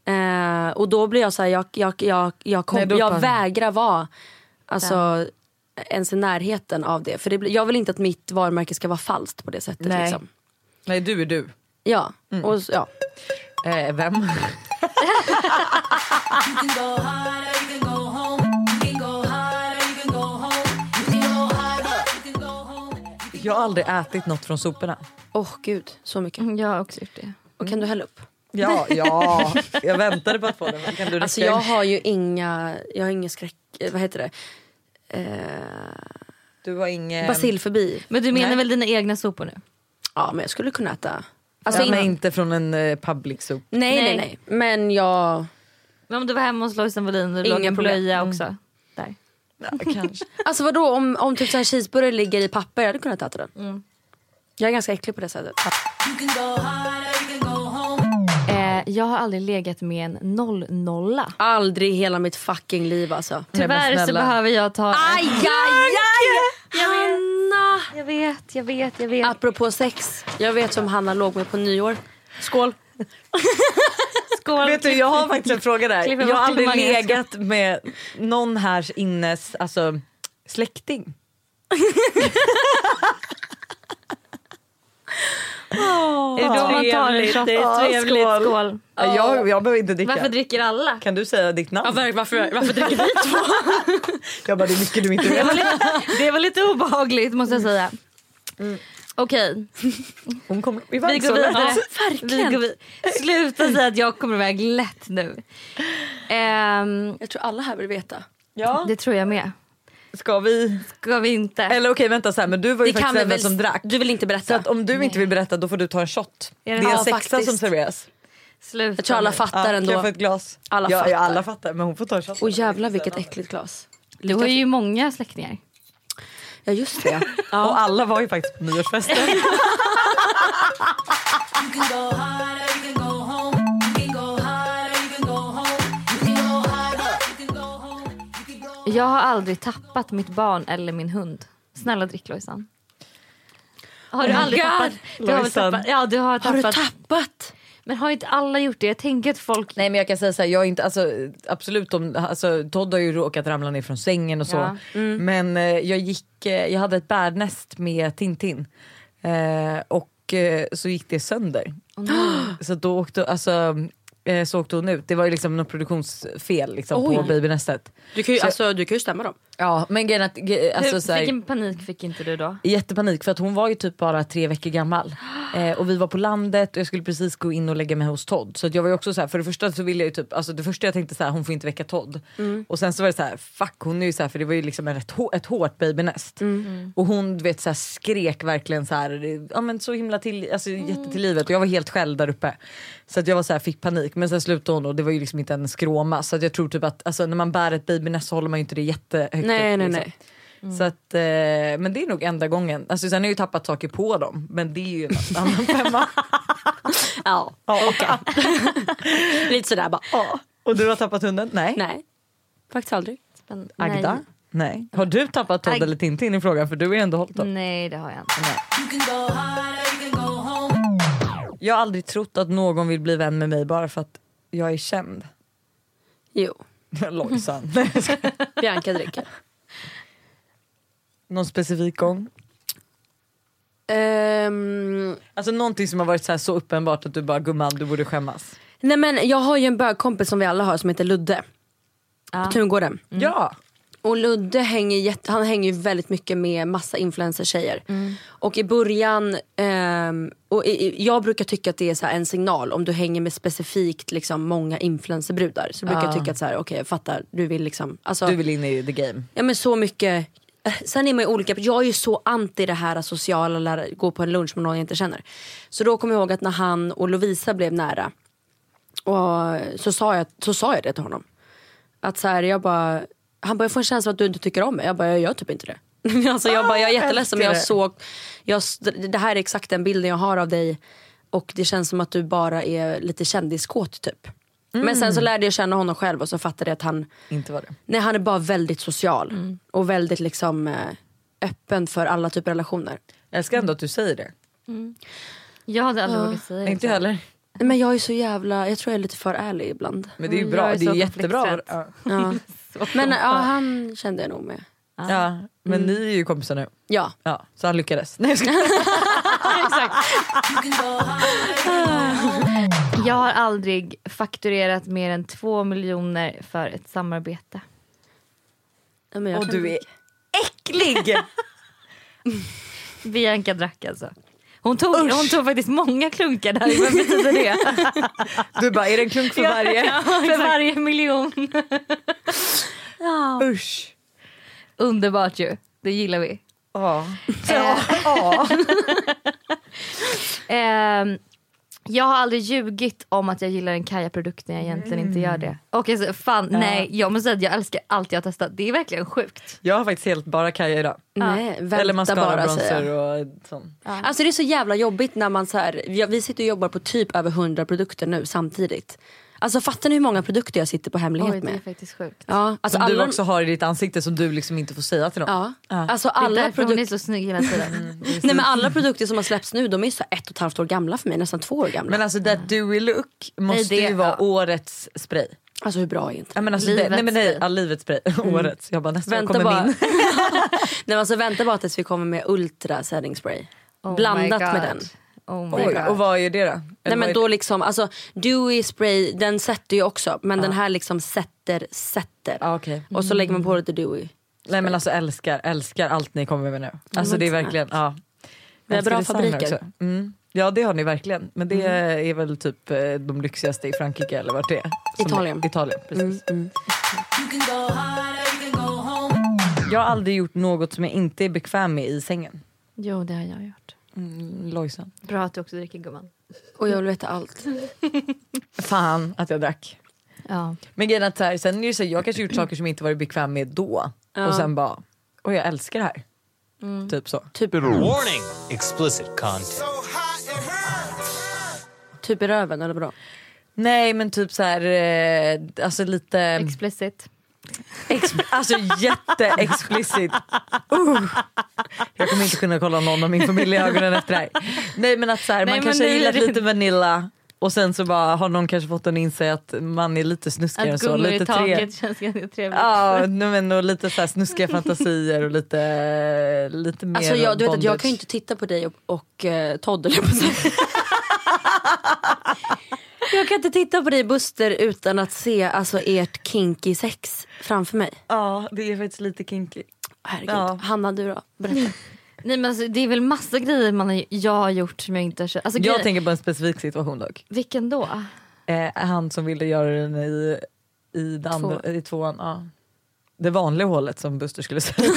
Speaker 4: Eh, och då blir jag så här, jag, jag, jag, jag, kom,
Speaker 2: Nej, då
Speaker 4: jag
Speaker 2: fan.
Speaker 4: vägrar vara alltså, ens i närheten av det. För det blir, jag vill inte att mitt varumärke ska vara falskt på det sättet.
Speaker 2: Nej. Mm.
Speaker 4: Liksom.
Speaker 2: Nej du är du.
Speaker 4: Ja, och, så- ja.
Speaker 2: Eh, vem? Jag har aldrig ätit något från soporna.
Speaker 4: Åh gud, så
Speaker 2: Mm.
Speaker 4: mycket.
Speaker 3: Jag har också gjort det.
Speaker 4: Och kan du hälla upp?
Speaker 2: Ja, ja. Jag väntade på att få den. men Kan du
Speaker 4: Alltså
Speaker 2: rycka
Speaker 4: jag
Speaker 2: in?
Speaker 4: har ju inga, jag har inga skräck, eh, vad heter det? Eh,
Speaker 2: Du har ingen...
Speaker 4: Basilfobi.
Speaker 3: Men du menar
Speaker 2: Nej.
Speaker 3: väl dina egna sopor nu?
Speaker 4: Ja men jag skulle kunna äta.
Speaker 2: Alltså
Speaker 4: Alltså,
Speaker 2: ja, men
Speaker 4: in,
Speaker 2: inte från en eh, public sop.
Speaker 4: nej nej nej. Men jag,
Speaker 3: Men om du var hemma hos Lojsan Wallin och du
Speaker 4: Inga
Speaker 3: låg en
Speaker 4: problem.
Speaker 3: blöja också. Där.
Speaker 2: Ja, kanske.
Speaker 4: alltså vadå om, om typ så här cheeseburgare ligger i papper, jag hade kunnat äta den.
Speaker 2: Mm.
Speaker 4: Jag är ganska äcklig på det sättet.
Speaker 3: Eh, jag har aldrig legat med en noll nolla.
Speaker 4: Aldrig i hela mitt fucking liv alltså.
Speaker 2: men
Speaker 3: Tyvärr så
Speaker 2: snälla.
Speaker 3: behöver jag ta...
Speaker 4: Aj, aj, aj! Hanna!
Speaker 3: Jag vet, jag vet, jag vet.
Speaker 4: Apropå sex, jag vet som Hanna låg med på nyår. Skål!
Speaker 3: Skål.
Speaker 2: Vet du, jag har faktiskt en fråga där.
Speaker 3: Klipper
Speaker 2: Jag har
Speaker 3: bort
Speaker 2: aldrig
Speaker 3: klimangen.
Speaker 2: legat med någon här innes alltså, släkting.
Speaker 3: Är det då man tar en
Speaker 4: Trevligt,
Speaker 3: shot?
Speaker 4: det är
Speaker 3: Ja,
Speaker 4: trevligt.
Speaker 3: Skål. skål.
Speaker 2: Jag, jag behöver inte dricka.
Speaker 3: Varför dricker alla?
Speaker 2: Kan du säga ditt namn?
Speaker 6: Varför, varför, varför dricker vi?
Speaker 2: Jag bara, det är mycket du inte vet.
Speaker 3: Det var lite obehagligt måste jag säga. Mm. Okej,
Speaker 2: Hon kommer i
Speaker 3: vi går vidare.
Speaker 4: verkligen.
Speaker 3: Vi går vid- Sluta säga att jag kommer iväg lätt nu. Ehm,
Speaker 4: Jag tror alla här vill veta.
Speaker 2: Ja.
Speaker 3: det tror jag med.
Speaker 2: Ska vi?
Speaker 3: Ska vi inte?
Speaker 2: Eller okej vänta så här, men du var ju
Speaker 4: Det kan
Speaker 2: faktiskt den
Speaker 4: vi väl-
Speaker 2: som drack.
Speaker 4: Du vill inte berätta?
Speaker 2: Så att om du inte vill berätta då får du ta en shot. Det
Speaker 3: Är
Speaker 2: är
Speaker 3: det-
Speaker 2: en
Speaker 3: Ja,
Speaker 2: sexa
Speaker 4: faktiskt.
Speaker 2: som serveras.
Speaker 3: Sluta
Speaker 4: jag tror alla
Speaker 3: nu.
Speaker 2: Ja,
Speaker 4: fattar
Speaker 2: kan jag få
Speaker 4: ändå.
Speaker 2: ett glas?
Speaker 4: Alla
Speaker 2: ja,
Speaker 4: fattar.
Speaker 2: Ja, alla fattar men hon får ta en shot.
Speaker 4: Och jävla vilket äckligt glas.
Speaker 3: Du har ju många släktingar.
Speaker 4: Ja just det.
Speaker 2: Och alla var ju faktiskt på nyårsfesten.
Speaker 3: Jag har aldrig tappat mitt barn eller min hund. Snälla drick Lojsan. Har du aldrig tappat? Du har, väl
Speaker 2: Oh Lojsan.
Speaker 3: tappat? Ja, du har,
Speaker 4: Har du
Speaker 3: tappat.
Speaker 4: tappat?
Speaker 3: Men har inte alla gjort det? Jag tänker att folk...
Speaker 2: Nej men jag kan säga så här, jag är inte, alltså, absolut om, alltså, Todd har ju råkat ramla ner från sängen och så.
Speaker 3: Ja.
Speaker 2: Men eh, jag gick, eh, jag hade ett bärnäst med Tintin. Eh, och eh, så gick det sönder. så då åkte, alltså, eh, så åkte hon ut. Det var ju liksom något produktionsfel liksom, på
Speaker 4: Oj.
Speaker 2: babynästet.
Speaker 6: Du kan ju,
Speaker 4: Alltså du kan ju stämma dem.
Speaker 2: Ja men grejen att, ge- alltså,
Speaker 3: Hur,
Speaker 2: så här,
Speaker 3: Vilken panik fick inte du då?
Speaker 2: jättepanik för att hon var ju typ bara tre veckor gammal. Eh, och vi var på landet och jag skulle precis gå in och lägga mig hos Todd. Så att jag var ju också så här, för det första så ville jag ju typ, alltså det första jag tänkte så här, hon får inte väcka Todd.
Speaker 4: Mm.
Speaker 2: Och sen så var det så här, fuck hon är ju så här, för det var ju liksom ett, ett hårt babynest.
Speaker 4: Mm.
Speaker 2: Och hon du vet så här, skrek verkligen så här, ja men så himla till, alltså
Speaker 4: Mm.
Speaker 2: jätte till livet. Och jag var helt själv där uppe. Så att jag var så här, fick panik. Men sen slutade hon och det var ju liksom inte en skråma. Så att jag tror typ att alltså, när man bär ett babynest så håller man ju inte det jättehögt upp,
Speaker 4: Nej nej
Speaker 2: liksom.
Speaker 4: nej.
Speaker 2: Så att, eh, men det är nog enda gången. Alltså, sen har jag ju tappat saker på dem, men det är ju en annan femma.
Speaker 4: Ja. Lite sådär bara. Ja.
Speaker 2: Och du har tappat hunden? Nej.
Speaker 4: Nej. Faktiskt aldrig.
Speaker 3: Spänn-
Speaker 2: Agda? Nej. Har du tappat Todd
Speaker 3: Ag- Mm.
Speaker 2: eller Tintin i frågan? För du har ju ändå hållit
Speaker 3: Nej.
Speaker 2: dem.
Speaker 3: Nej, det har jag inte.
Speaker 2: Jag har aldrig trott att någon vill bli vän med mig bara för att jag är känd.
Speaker 4: Jo.
Speaker 2: Lojsan.
Speaker 4: Bianca dricker.
Speaker 2: Någon specifik gång?
Speaker 4: Ehm,
Speaker 2: Alltså någonting som har varit så, här så uppenbart att du bara gumman du borde skämmas.
Speaker 4: nej men jag har ju en bögkompis som vi alla har som heter Ludde. På Tungården.
Speaker 3: Mm.
Speaker 2: Ja!
Speaker 4: Och Ludde hänger, jätte, han hänger ju väldigt mycket med massa influencer-tjejer. Och i början, ehm, och i, i, jag brukar tycka att det är så här en signal om du hänger med specifikt liksom många influencerbrudar. Så brukar jag tycka att så här, okej jag fattar, du vill liksom, alltså,
Speaker 2: Du vill in i the game.
Speaker 4: ja men så mycket. eh, Sen är man ju olika, jag är ju så anti det här sociala, lära- gå på en lunch med någon jag inte känner. Så då kommer jag ihåg att när han och Lovisa blev nära, och så, sa jag, så sa jag det till honom. Att så här, jag bara, han bara, jag får en känsla av att du inte tycker om mig. Jag bara, jag gör typ inte det. alltså jag bara, jag är jätteledsen men jag
Speaker 2: älskar
Speaker 4: såg, jag, det här är exakt den bilden jag har av dig. Och det känns som att du bara är lite kändiskåt typ. Men sen så lärde jag känna honom själv och så fattade jag att han,
Speaker 2: Inte var det.
Speaker 4: Nej han är bara väldigt social
Speaker 3: Mm.
Speaker 4: och väldigt liksom eh, öppen för alla typer av relationer.
Speaker 2: Jag älskar ändå att du säger det.
Speaker 3: Jag hade aldrig vågat säga det.
Speaker 2: Ah. Inte jag heller.
Speaker 4: Nej, Men jag är så jävla, jag tror jag är lite för ärlig ibland.
Speaker 2: Men det är ju
Speaker 3: Mm,
Speaker 2: bra,
Speaker 3: jag är
Speaker 2: det är
Speaker 3: så
Speaker 2: ju jättebra.
Speaker 3: konflikträdd.
Speaker 2: Ja.
Speaker 4: Ja. Men
Speaker 3: eh,
Speaker 4: ja, han kände jag nog med.
Speaker 2: Ja, men
Speaker 4: Mm.
Speaker 2: ni är ju kompisar nu.
Speaker 4: Ja.
Speaker 2: Ja, så han lyckades. Nej, jag skojar.
Speaker 3: Jag har aldrig fakturerat mer än två miljoner för ett samarbete.
Speaker 4: ja men jag
Speaker 2: Och
Speaker 4: kände-
Speaker 2: du är äcklig!
Speaker 3: Bianca drack alltså. Hon tog, hon tog faktiskt många klunkar där. Vad betyder det?
Speaker 2: Du bara, är det en klunk för varje?
Speaker 3: Ja, för varje miljon.
Speaker 2: Usch!
Speaker 3: Underbart ju. Det gillar vi. Eh,
Speaker 2: Ja.
Speaker 3: Ehm, jag har aldrig ljugit om att jag gillar en Kaja-produkt när jag egentligen inte gör det. Och alltså, fan, nej, jag måste säga att jag älskar allt jag har testat. Det är verkligen sjukt.
Speaker 2: Jag har faktiskt helt bara Kaja idag.
Speaker 4: Nej, vänta
Speaker 2: Eller mascara,
Speaker 4: bara säger
Speaker 2: bronzer
Speaker 4: jag.
Speaker 2: och sånt.
Speaker 4: Alltså det är så jävla jobbigt när man så här, vi- vi sitter och jobbar på typ över 100 produkter nu samtidigt. Alltså fattar ni hur många produkter jag sitter på hemlighet
Speaker 3: Oj, det är
Speaker 4: med?
Speaker 3: faktiskt sjukt.
Speaker 4: Ja, alltså
Speaker 2: Som du
Speaker 4: alla,
Speaker 2: också har i ditt ansikte som du liksom inte får säga till någon.
Speaker 4: ja. Alltså
Speaker 3: Det är
Speaker 4: alla
Speaker 3: därför hon är
Speaker 4: produkter
Speaker 3: så snygg hela tiden.
Speaker 4: Nej men alla produkter som har släppts nu de är ju så ett och ett halvt år gamla för mig, nästan två år gamla.
Speaker 2: Men alltså that dewy look måste
Speaker 3: Nej, det-
Speaker 2: ju vara
Speaker 3: ja.
Speaker 2: årets spray.
Speaker 4: alltså hur bra är inte
Speaker 2: Ja, men alltså, det,
Speaker 3: Livets
Speaker 2: nej men nej,
Speaker 3: spray.
Speaker 2: ja, livets spray. årets. Jag bara nästa år
Speaker 4: Vänta
Speaker 2: kommer
Speaker 4: bara.
Speaker 2: min.
Speaker 4: nej, men alltså, vänta bara tills vi kommer med Ultra setting spray.
Speaker 3: Oh my
Speaker 4: Blandat med
Speaker 3: God.
Speaker 4: den.
Speaker 3: Oh my
Speaker 2: Oj,
Speaker 3: God.
Speaker 2: och vad är det då?
Speaker 4: Nej
Speaker 2: Eller vad
Speaker 4: men
Speaker 2: är
Speaker 4: då
Speaker 2: det?
Speaker 4: liksom, alltså dewy spray den sätter ju också men den här liksom sätter, sätter.
Speaker 2: Ah, okej.
Speaker 4: Och så lägger man på lite dewy.
Speaker 2: Nej men alltså älskar, älskar allt ni kommer med nu. Alltså det är verkligen, ja.
Speaker 4: Vi har
Speaker 2: Älskar
Speaker 4: bra
Speaker 2: design
Speaker 4: fabriker. Mm.
Speaker 2: också. Mm. Ja det har ni verkligen. Men det är väl typ eh, de lyxigaste i Frankrike eller vart det är. Som-
Speaker 4: Italien. Mm.
Speaker 2: Italien, precis. Jag har aldrig gjort något som jag inte är bekväm med i sängen.
Speaker 3: Jo, det har jag gjort.
Speaker 2: Lojsan.
Speaker 3: Bra att du också dricker gumman.
Speaker 4: Och jag vill veta allt.
Speaker 2: Fan att jag drack.
Speaker 3: Ja.
Speaker 2: Men grejen är att så här, sen är det så här, jag kanske gjort saker som jag inte varit bekväm med då. Och sen bara, och jag älskar det här. Typ så.
Speaker 4: Typ,
Speaker 5: Warning! Explicit content.
Speaker 4: typ i röven eller vadå?
Speaker 2: Nej men typ så här, eh, alltså lite...
Speaker 3: Explicit.
Speaker 2: Ex- alltså jätteexplicit. Uh. Jag kommer inte kunna kolla någon av min familj i ögonen efter det här. Nej men att så här,
Speaker 3: Nej,
Speaker 2: man
Speaker 3: men
Speaker 2: kanske har
Speaker 3: nej,
Speaker 2: gillat
Speaker 3: det-
Speaker 2: lite Vanilla och sen så bara har någon kanske fått en inse att man är lite snuskigare än
Speaker 3: Att
Speaker 2: så.
Speaker 3: gummor i
Speaker 2: Lite
Speaker 3: taget
Speaker 2: tre...
Speaker 3: känns ganska trevligt.
Speaker 2: Ja, nej, men, och lite så här snuskiga fantasier och lite, lite mer
Speaker 4: Alltså jag, du vet att jag
Speaker 2: bondage.
Speaker 4: kan ju inte titta på dig och, och eh, Todd eller på att säga. Jag kan inte titta på dig Buster utan att se alltså ert kinky sex framför mig.
Speaker 2: Ja det är faktiskt lite kinky.
Speaker 4: Herregud.
Speaker 2: Ja.
Speaker 4: Hanna du då? Berätta.
Speaker 3: Nej, men alltså, det är väl massa grejer man har, jag har gjort som jag inte har känt. Alltså,
Speaker 2: Jag
Speaker 3: grejer-
Speaker 2: tänker på en specifik situation dock.
Speaker 3: Vilken då?
Speaker 2: Eh, han som ville göra den i, i, det andra, i tvåan. Ja. Det vanliga hålet som Buster skulle säga.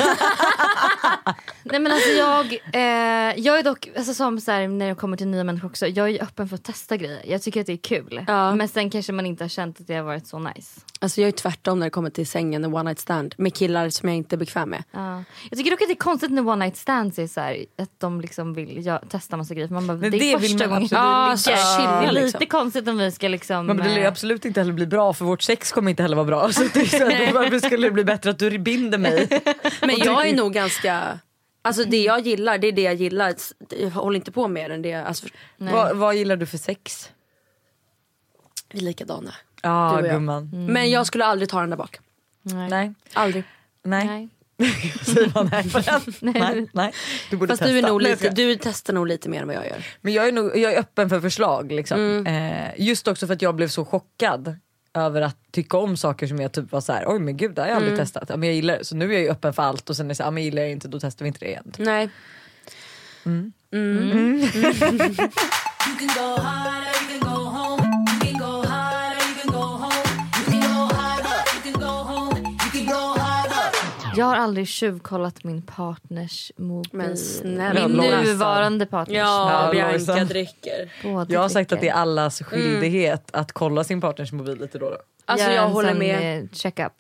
Speaker 3: Nej men alltså jag, eh, jag är dock, alltså som så här, när det kommer till nya människor också, jag är ju öppen för att testa grejer. Jag tycker att det är kul.
Speaker 4: Ja.
Speaker 3: Men sen kanske man inte har känt att det har varit så nice.
Speaker 4: Alltså jag är tvärtom när det kommer till sängen och one night stand med killar som jag inte är bekväm med.
Speaker 3: Ja. Jag tycker dock att det är konstigt när one night stands är så här, att de liksom vill ja, testa massa grejer. För man bara,
Speaker 2: Men
Speaker 3: det
Speaker 2: det
Speaker 3: är
Speaker 2: vill
Speaker 3: första
Speaker 2: man
Speaker 3: gången
Speaker 2: absolut
Speaker 3: Ja,
Speaker 2: inte.
Speaker 3: så här,
Speaker 4: Chilla
Speaker 3: Det är lite
Speaker 4: liksom.
Speaker 3: konstigt om vi ska liksom...
Speaker 2: Men det lär ju
Speaker 3: eh,
Speaker 2: absolut inte heller bli bra för vårt sex kommer inte heller vara bra. Så det är så här, varför skulle det bli bättre att du binder mig?
Speaker 4: Men jag är nog ganska... Alltså det jag gillar, det är det jag gillar. Jag håller inte på mer än det. jag- Alltså,
Speaker 3: Nej.
Speaker 2: Vad, vad gillar du för sex?
Speaker 4: vi är likadana.
Speaker 2: Ja
Speaker 4: Du och jag.
Speaker 2: gumman.
Speaker 4: Mm. Men jag skulle aldrig ta den där bak.
Speaker 3: nej.
Speaker 2: Nej.
Speaker 4: Aldrig.
Speaker 2: Nej.
Speaker 3: Nej.
Speaker 2: Säger man nej på den? Nej. nej. Du borde
Speaker 4: Fast
Speaker 2: testa.
Speaker 4: du, är nog
Speaker 2: Nej, jag
Speaker 4: lite,
Speaker 2: skojar.
Speaker 4: du testar nog lite mer än vad jag gör.
Speaker 2: Men jag är, nog, jag är öppen för förslag. Liksom.
Speaker 4: Mm.
Speaker 2: Eh, just också för att jag blev så chockad över att tycka om saker som jag typ var så här, oj men gud det har jag aldrig
Speaker 4: Mm.
Speaker 2: testat. Ja, men jag gillar det. Så nu är jag ju öppen för allt och sen är det så här, ja, men gillar jag inte då testar vi inte det igen. Typ.
Speaker 4: Nej.
Speaker 3: Jag har aldrig tjuvkollat min partners mobil.
Speaker 4: Men snälla,
Speaker 3: min
Speaker 2: Lojsan.
Speaker 3: nuvarande partners.
Speaker 2: Ja,
Speaker 4: Bianca
Speaker 2: Lojsan.
Speaker 4: dricker.
Speaker 3: Båda
Speaker 2: Jag har sagt
Speaker 3: tycker.
Speaker 2: att det är allas
Speaker 4: Mm.
Speaker 2: skyldighet att kolla sin partners mobil lite då. då.
Speaker 4: Alltså
Speaker 3: Gör
Speaker 4: jag
Speaker 3: en
Speaker 4: håller
Speaker 3: sån,
Speaker 4: med.
Speaker 3: eh, Check-up.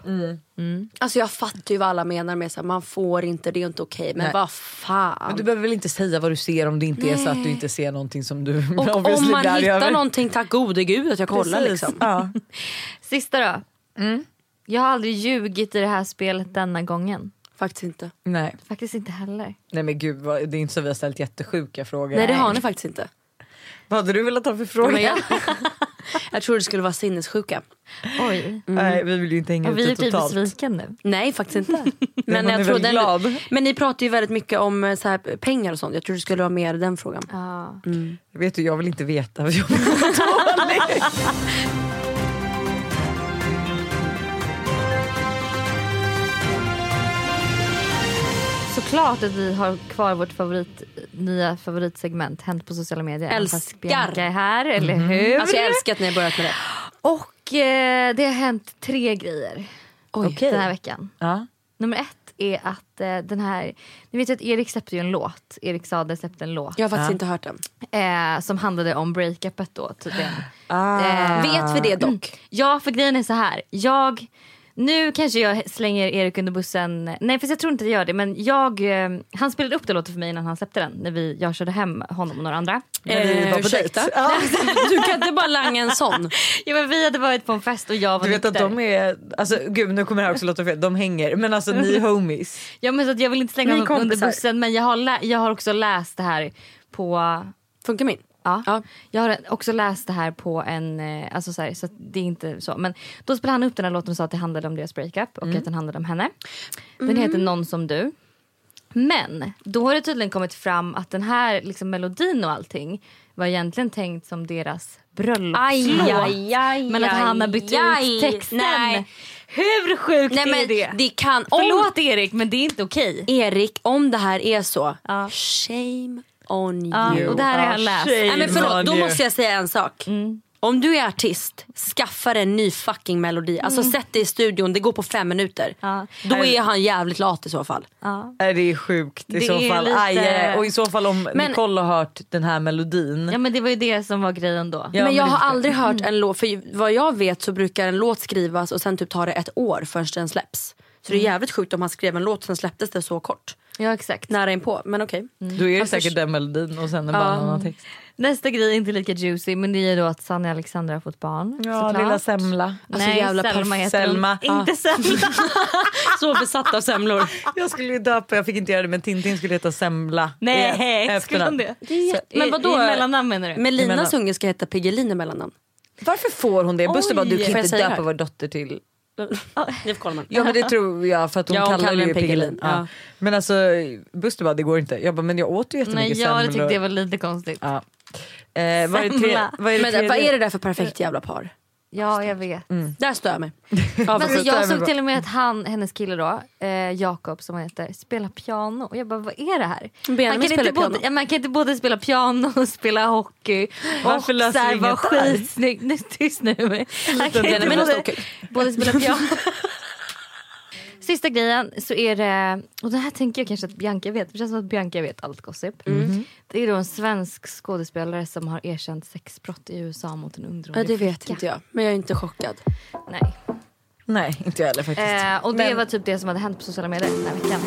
Speaker 4: Alltså jag fattar ju vad alla menar med så här, man får inte, det är inte okej. Men
Speaker 2: Nej.
Speaker 4: vad fan.
Speaker 2: Men du behöver väl inte säga vad du ser om det inte är så att du inte ser någonting som du
Speaker 4: och om
Speaker 2: obviously
Speaker 4: man
Speaker 2: där
Speaker 4: hittar
Speaker 2: över.
Speaker 4: någonting, tack gode gud att jag kollar
Speaker 2: Precis.
Speaker 4: liksom.
Speaker 2: Ja.
Speaker 3: Sista då.
Speaker 2: Mm.
Speaker 3: Jag har aldrig ljugit i det här spelet denna gången.
Speaker 4: Faktiskt inte.
Speaker 2: Nej.
Speaker 3: Faktiskt inte heller.
Speaker 2: Nej men gud vad, det är inte så vi har ställt jättesjuka frågor.
Speaker 4: Nej det har ni faktiskt inte.
Speaker 2: Vad hade du velat ha för fråga?
Speaker 4: Men jag, jag tror det skulle vara sinnessjuka.
Speaker 3: Oj.
Speaker 2: Nej vi vill ju inte hänga
Speaker 3: Och
Speaker 2: ut
Speaker 3: vi
Speaker 2: det
Speaker 3: är typ
Speaker 2: totalt.
Speaker 3: besviken nu.
Speaker 4: Nej faktiskt inte.
Speaker 2: man är väl
Speaker 4: trodde ändå-
Speaker 2: glad.
Speaker 4: men ni pratar ju väldigt mycket om eh, så här, pengar och sånt. Jag tror det skulle vara mer den frågan.
Speaker 3: Ja.
Speaker 2: Vet du, jag vill inte veta. för Jag mår dåligt.
Speaker 3: Såklart att vi har kvar vårt favorit, nya favoritsegment Hänt på sociala medier. även fast
Speaker 4: Älskar.
Speaker 3: Bianca är här, eller
Speaker 2: Mm.
Speaker 3: hur?
Speaker 4: Alltså jag älskar att ni har börjat med det.
Speaker 3: Och eh, det har hänt tre grejer
Speaker 4: Oj.
Speaker 3: den här veckan.
Speaker 2: Ja.
Speaker 3: Nummer ett är att eh, den här, ni vet ju att Erik släppte ju en låt. Erik Saade släppte en låt.
Speaker 4: Jag har faktiskt inte hört den.
Speaker 3: eh, som handlade om breakupet då tydligen.
Speaker 2: Ah.
Speaker 4: Eh, Vet vi det dock?
Speaker 3: Ja för grejen är så här. Jag, nu kanske jag slänger Erik under bussen. Nej för jag tror inte jag gör det. Men jag, eh, han spelade upp den låten för mig innan han släppte den. När vi, jag körde hem honom och några andra.
Speaker 2: När vi var på
Speaker 4: ursäkta?
Speaker 2: dejt. Ja.
Speaker 4: Du kan inte bara langa en sån.
Speaker 3: Ja, men vi hade varit på en fest och jag var
Speaker 2: Du vet att
Speaker 3: nykter.
Speaker 2: de är, alltså gud nu kommer det här också låta fel, de hänger men alltså ni är homies.
Speaker 3: ja, men så att jag vill inte slänga
Speaker 2: Ni
Speaker 3: honom under
Speaker 2: kompisar.
Speaker 3: bussen. Men jag har, lä- jag har också läst det här på
Speaker 4: Funkar min?
Speaker 3: Ja.
Speaker 4: Ja.
Speaker 3: Jag har också läst det här på en... eh, Alltså så, här, så att det är inte så. Men då spelade han upp den Mm. här låten och sa att det handlade om deras breakup och att den handlade om henne. Den heter Någon som du. Men då har det tydligen kommit fram att den här liksom, melodin och allting var egentligen tänkt som deras bröllopslåt. men att han har bytt ut texten.
Speaker 6: Nej,
Speaker 3: Hur sjukt
Speaker 6: nej
Speaker 3: är
Speaker 6: men
Speaker 3: det?
Speaker 6: det kan... Om,
Speaker 3: Förlåt Erik men det är inte okej.
Speaker 6: Erik, om det här är så,
Speaker 3: Ja.
Speaker 6: shame on
Speaker 3: Ja,
Speaker 6: you.
Speaker 3: och det här har
Speaker 2: Ah,
Speaker 3: jag läst. Mm.
Speaker 2: shit.
Speaker 6: Nej, men förlåt, då
Speaker 2: Daniel.
Speaker 6: måste
Speaker 4: måste
Speaker 6: jag...
Speaker 4: jag säga en sak.
Speaker 6: Om du är artist, skaffa dig en ny fucking melodi. Alltså sätt dig i studion, det går på fem minuter.
Speaker 3: Mm. Ja.
Speaker 6: Då är han jävligt lat i så fall.
Speaker 3: Ja.
Speaker 2: Nej, det är sjukt i
Speaker 3: Det
Speaker 2: så
Speaker 3: är
Speaker 2: fall.
Speaker 3: lite-
Speaker 2: Aj, eh, och i så fall om
Speaker 4: Men-
Speaker 2: Nicole har hört den här melodin.
Speaker 3: ja men det var ju det som var grejen då.
Speaker 2: Ja,
Speaker 4: men jag
Speaker 2: det-
Speaker 4: har aldrig hört
Speaker 3: Mm.
Speaker 4: en låt, för ju- vad jag vet så brukar en låt skrivas och sen typ tar det ett år förrän den släpps. Så
Speaker 3: Mm.
Speaker 4: det är jävligt sjukt om han skrev en låt sen släpptes det så kort.
Speaker 3: Ja, exakt.
Speaker 4: Nära inpå, men okej.
Speaker 3: Mm.
Speaker 2: Då är det säkert den melodin och sen en bara annan text.
Speaker 3: Nästa grej är inte lika juicy men det är ju då att Sanna Alexandra har fått barn. såklart.
Speaker 2: Semla.
Speaker 3: Nej,
Speaker 4: jävla
Speaker 3: Selma
Speaker 4: perf-
Speaker 3: heter
Speaker 2: Selma.
Speaker 3: hon. Inte Selma.
Speaker 6: Så besatt av semlor.
Speaker 2: Jag skulle ju döpa, jag fick inte göra det men Tintin skulle heta Semla. i
Speaker 3: Nej, skulle hon
Speaker 2: efternamn.
Speaker 3: det?
Speaker 6: Men
Speaker 3: I-
Speaker 6: vadå?
Speaker 3: I mellannamn menar du?
Speaker 6: Men Lina
Speaker 4: Linas unge ska heta Piggelin i mellannamn.
Speaker 2: Varför får hon det? Buster bara
Speaker 3: Oj.
Speaker 2: du
Speaker 3: Får
Speaker 2: kan
Speaker 4: jag
Speaker 2: inte
Speaker 4: säga
Speaker 2: döpa
Speaker 4: det?
Speaker 2: vår dotter till
Speaker 6: Liv Kollman.
Speaker 2: Ja men det tror jag för att hon
Speaker 6: Ja, hon
Speaker 2: kallar
Speaker 6: kallar
Speaker 2: det ju
Speaker 6: den Piggelin.
Speaker 2: Piggelin. Ja.
Speaker 6: Ja.
Speaker 2: Men alltså Buster bara det går inte. Jag bara men jag åt ju
Speaker 3: Nej,
Speaker 2: jättemycket
Speaker 3: jag tyckte
Speaker 2: semlor.
Speaker 3: det var lite konstigt.
Speaker 2: Ja. Eh, vad är det tre-
Speaker 3: Semla.
Speaker 2: vad är det
Speaker 4: Men vad
Speaker 2: tredje? Eh.
Speaker 4: är det där för perfekt jävla par?
Speaker 3: Ja, jag vet.
Speaker 4: Där stör jag mig.
Speaker 3: Alltså,
Speaker 2: Avundsjuk.
Speaker 3: jag såg till och med att han, hennes kille då, eh, Jakob som han heter, spelar piano. Och jag bara, vad är det här?
Speaker 4: Benjamin
Speaker 3: man, kan
Speaker 4: spelar
Speaker 3: inte både,
Speaker 4: piano.
Speaker 3: ja, man kan inte både spela piano och spela hockey.
Speaker 2: Varför
Speaker 3: och
Speaker 2: löser
Speaker 3: så här,
Speaker 2: vi
Speaker 3: vara
Speaker 2: inget där?
Speaker 3: skitsnygg. Nu, tyst nu. Han kan inte
Speaker 4: Benjamin har
Speaker 3: både,
Speaker 4: ståkuk.
Speaker 3: både spela piano. Sista grejen så är det, och det här tänker jag kanske att Bianca vet, det känns som att Bianca vet allt gossip. Det är då en svensk skådespelare som har erkänt sexbrott i USA mot en
Speaker 4: Ja,
Speaker 3: underårig
Speaker 4: det vet inte jag, men jag är inte chockad.
Speaker 3: Nej.
Speaker 2: Nej inte jag heller faktiskt.
Speaker 3: Eh, och det var typ det som hade hänt på sociala medier den här veckan.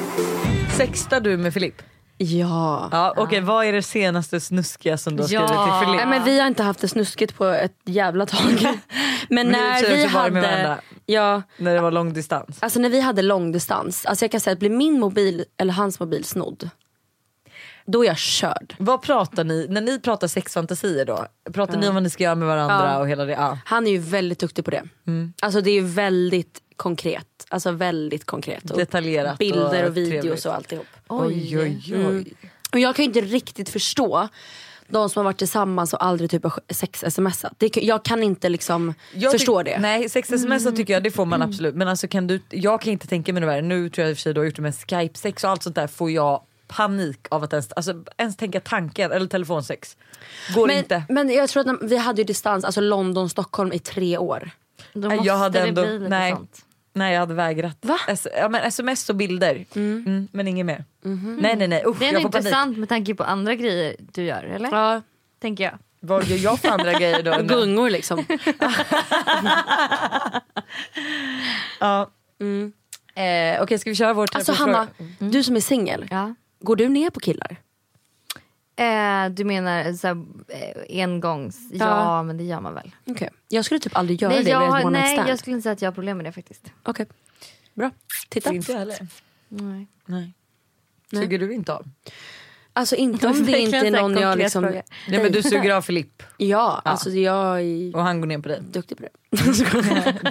Speaker 2: Sextar du med Filip?
Speaker 4: Ja.
Speaker 2: Ja, Okej, vad är det senaste snuskiga som du har skrivit
Speaker 3: Ja.
Speaker 2: till Filip?
Speaker 4: Nej, men vi har inte haft det snuskigt på ett jävla tag. men när
Speaker 2: tjejer
Speaker 4: vi
Speaker 2: som varit med
Speaker 4: hade...
Speaker 2: varandra.
Speaker 4: Ja,
Speaker 2: När det var långdistans.
Speaker 4: Alltså när vi hade långdistans, alltså jag kan säga att blir min mobil eller hans mobil snodd, då är jag körd.
Speaker 2: Vad pratar ni, när ni pratar sexfantasier då? Pratar ni om vad ni ska göra med varandra och hela det? Ja.
Speaker 4: Han är ju väldigt duktig på det.
Speaker 2: Mm.
Speaker 4: Alltså det är ju väldigt konkret. Alltså väldigt konkret. Och
Speaker 2: Detaljerat och
Speaker 4: Bilder och, videos
Speaker 2: trevligt.
Speaker 4: och alltihop.
Speaker 2: Oj, oj, oj.
Speaker 4: Och jag kan ju inte riktigt förstå de som har varit tillsammans och aldrig typ har sex-smsat. Det, kan- jag kan inte liksom
Speaker 2: Jag
Speaker 4: förstå
Speaker 2: tyck-
Speaker 4: det.
Speaker 2: Nej sex sms så tycker jag det får man absolut men alltså kan du, jag kan inte tänka mig det där. Nu tror jag i och för sig du har gjort det med skype sex och allt sånt där får jag panik av att ens, alltså, ens tänka tanken eller telefonsex. Går
Speaker 4: men,
Speaker 2: inte.
Speaker 4: men jag tror att när- vi hade ju distans, alltså London, Stockholm i tre år.
Speaker 3: Då
Speaker 2: Nej,
Speaker 3: måste
Speaker 2: jag hade
Speaker 3: det
Speaker 2: ändå-
Speaker 3: bli lite
Speaker 2: nej.
Speaker 3: sånt.
Speaker 2: Nej jag hade vägrat. Va? ja, men sms och bilder Mm, men inget mer. Nej nej nej usch
Speaker 3: Det är
Speaker 2: jag
Speaker 3: ändå
Speaker 2: får panik.
Speaker 3: intressant med tanke på andra grejer du gör, eller?
Speaker 4: Ja.
Speaker 3: Tänker jag.
Speaker 2: Vad gör jag för andra grejer då? undrar jag?
Speaker 4: Gungor liksom.
Speaker 2: Ja. Eh, Okej ska vi köra vår
Speaker 4: Mm. Alltså
Speaker 2: telefonfråga?
Speaker 4: Hanna,
Speaker 3: Mm.
Speaker 4: du som är singel,
Speaker 3: Ja.
Speaker 4: går du ner på killar?
Speaker 3: Eh, du menar så här, eh, engångs... Ja.
Speaker 4: Ja.
Speaker 3: men det gör man väl.
Speaker 4: Okej. Jag skulle typ aldrig göra
Speaker 3: nej,
Speaker 4: det med
Speaker 3: jag,
Speaker 4: ett one night
Speaker 3: nej,
Speaker 4: stand.
Speaker 3: jag skulle inte säga att jag har problem med det faktiskt.
Speaker 4: Okej, bra. Titta.
Speaker 2: Inte jag heller.
Speaker 3: Nej.
Speaker 2: Nej. Suger du inte av?
Speaker 4: Alltså inte om det inte är
Speaker 3: Verkligen så här
Speaker 4: någon jag
Speaker 3: konkret
Speaker 4: liksom...
Speaker 3: fråga.
Speaker 2: Nej men du suger av Filipp
Speaker 4: Ja, alltså jag är
Speaker 2: och han går ner på dig.
Speaker 4: duktig på det.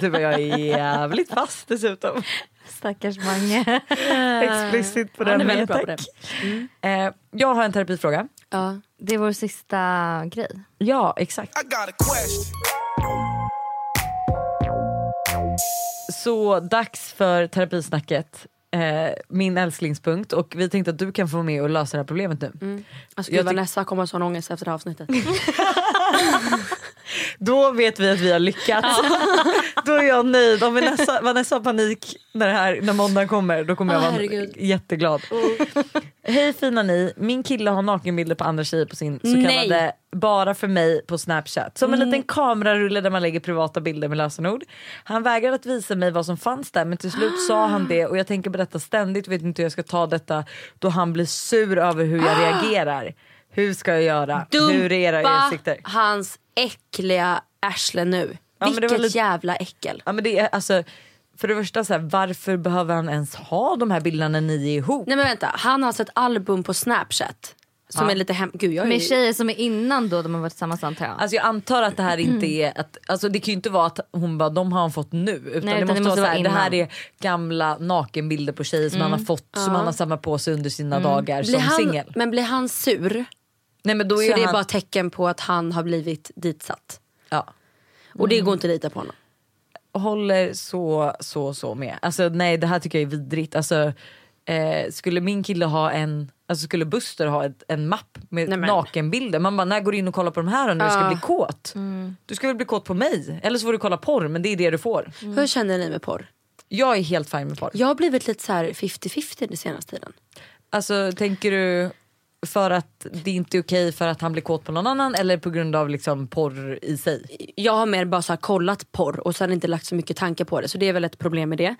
Speaker 2: Du bara, jag är jävligt fast dessutom.
Speaker 3: Stackars Mange.
Speaker 2: Eh, Explicit på
Speaker 4: Han
Speaker 2: den
Speaker 4: är
Speaker 2: med,
Speaker 4: väldigt bra på det.
Speaker 2: tack. Eh, jag har en terapifråga.
Speaker 4: Ja.
Speaker 3: det är vår sista grej.
Speaker 2: Ja, exakt.
Speaker 7: I got a question.
Speaker 2: Så dags för terapisnacket. Eh, min älsklingspunkt och vi tänkte att du kan få vara med och lösa det här problemet nu.
Speaker 4: Alltså, gud,
Speaker 2: Jag tyck-
Speaker 4: Vanessa kommer ha sån ångest efter det här avsnittet.
Speaker 2: Då vet vi att vi har lyckats. Då är jag nöjd. Om Vanessa, Vanessa har panik när, det här, när måndagen kommer då kommer jag
Speaker 4: Åh,
Speaker 2: vara
Speaker 4: herregud. Oh.
Speaker 2: jätteglad. Hej fina ni, min kille har nakenbilder på andra tjejer på sin så kallade
Speaker 4: Nej. Mm.
Speaker 2: bara för mig på snapchat. Som en liten kamerarulle där man lägger privata bilder med lösenord. Han vägrade att visa mig vad som fanns där men till slut sa han det och jag tänker på detta ständigt vet inte hur jag ska ta detta då han blir sur över hur
Speaker 4: Ah.
Speaker 2: jag reagerar. Hur ska jag göra? Hur är era åsikter?
Speaker 4: hans äckliga arsle nu.
Speaker 2: Ja, men det var
Speaker 4: Vilket
Speaker 2: lite-
Speaker 4: jävla äckel.
Speaker 2: Ja, men det är, alltså, för det första, så här, varför behöver han ens ha de här bilderna när ni är ihop?
Speaker 4: Nej men vänta, han har alltså ett album på snapchat.
Speaker 6: Som är lite hem... Gud jag är
Speaker 3: Med
Speaker 6: ju...
Speaker 3: tjejer som är innan då de har varit tillsammans antar jag.
Speaker 2: Alltså jag antar att det här inte
Speaker 4: Mm.
Speaker 2: är att, alltså det kan ju inte vara att hon bara de har han fått nu utan, det, måste vara så här, det här
Speaker 3: innan.
Speaker 2: är gamla nakenbilder på tjejer som han har fått som han har samlat på sig under sina dagar
Speaker 4: Mm. Blir
Speaker 2: som
Speaker 4: han,
Speaker 2: singel.
Speaker 4: men blir han sur
Speaker 2: Nej men då
Speaker 4: så
Speaker 2: är
Speaker 4: det är
Speaker 2: han,
Speaker 4: bara tecken på att han har blivit ditsatt.
Speaker 2: ja,
Speaker 4: Och det går inte att lita på honom.
Speaker 2: håller så så så med. Alltså nej det här tycker jag är vidrigt. Alltså eh, skulle min kille ha en Alltså skulle Buster ha ett, en mapp med
Speaker 4: Nej, men.
Speaker 2: nakenbilder? Man bara, när går du in och kollar på de här och när du ska bli kåt? Du ska väl bli kåt på mig? Eller så får du kolla porr men det är det du får.
Speaker 4: Hur känner ni med porr?
Speaker 2: Jag är helt fine med porr.
Speaker 4: Jag har blivit lite så här 50-50 den senaste tiden.
Speaker 2: Alltså tänker du för att det inte är okej för att han blir kåt på någon annan eller på grund av liksom porr i sig?
Speaker 4: jag har mer bara så här kollat porr och sen inte lagt så mycket tanke på det. Så det är väl ett problem med det.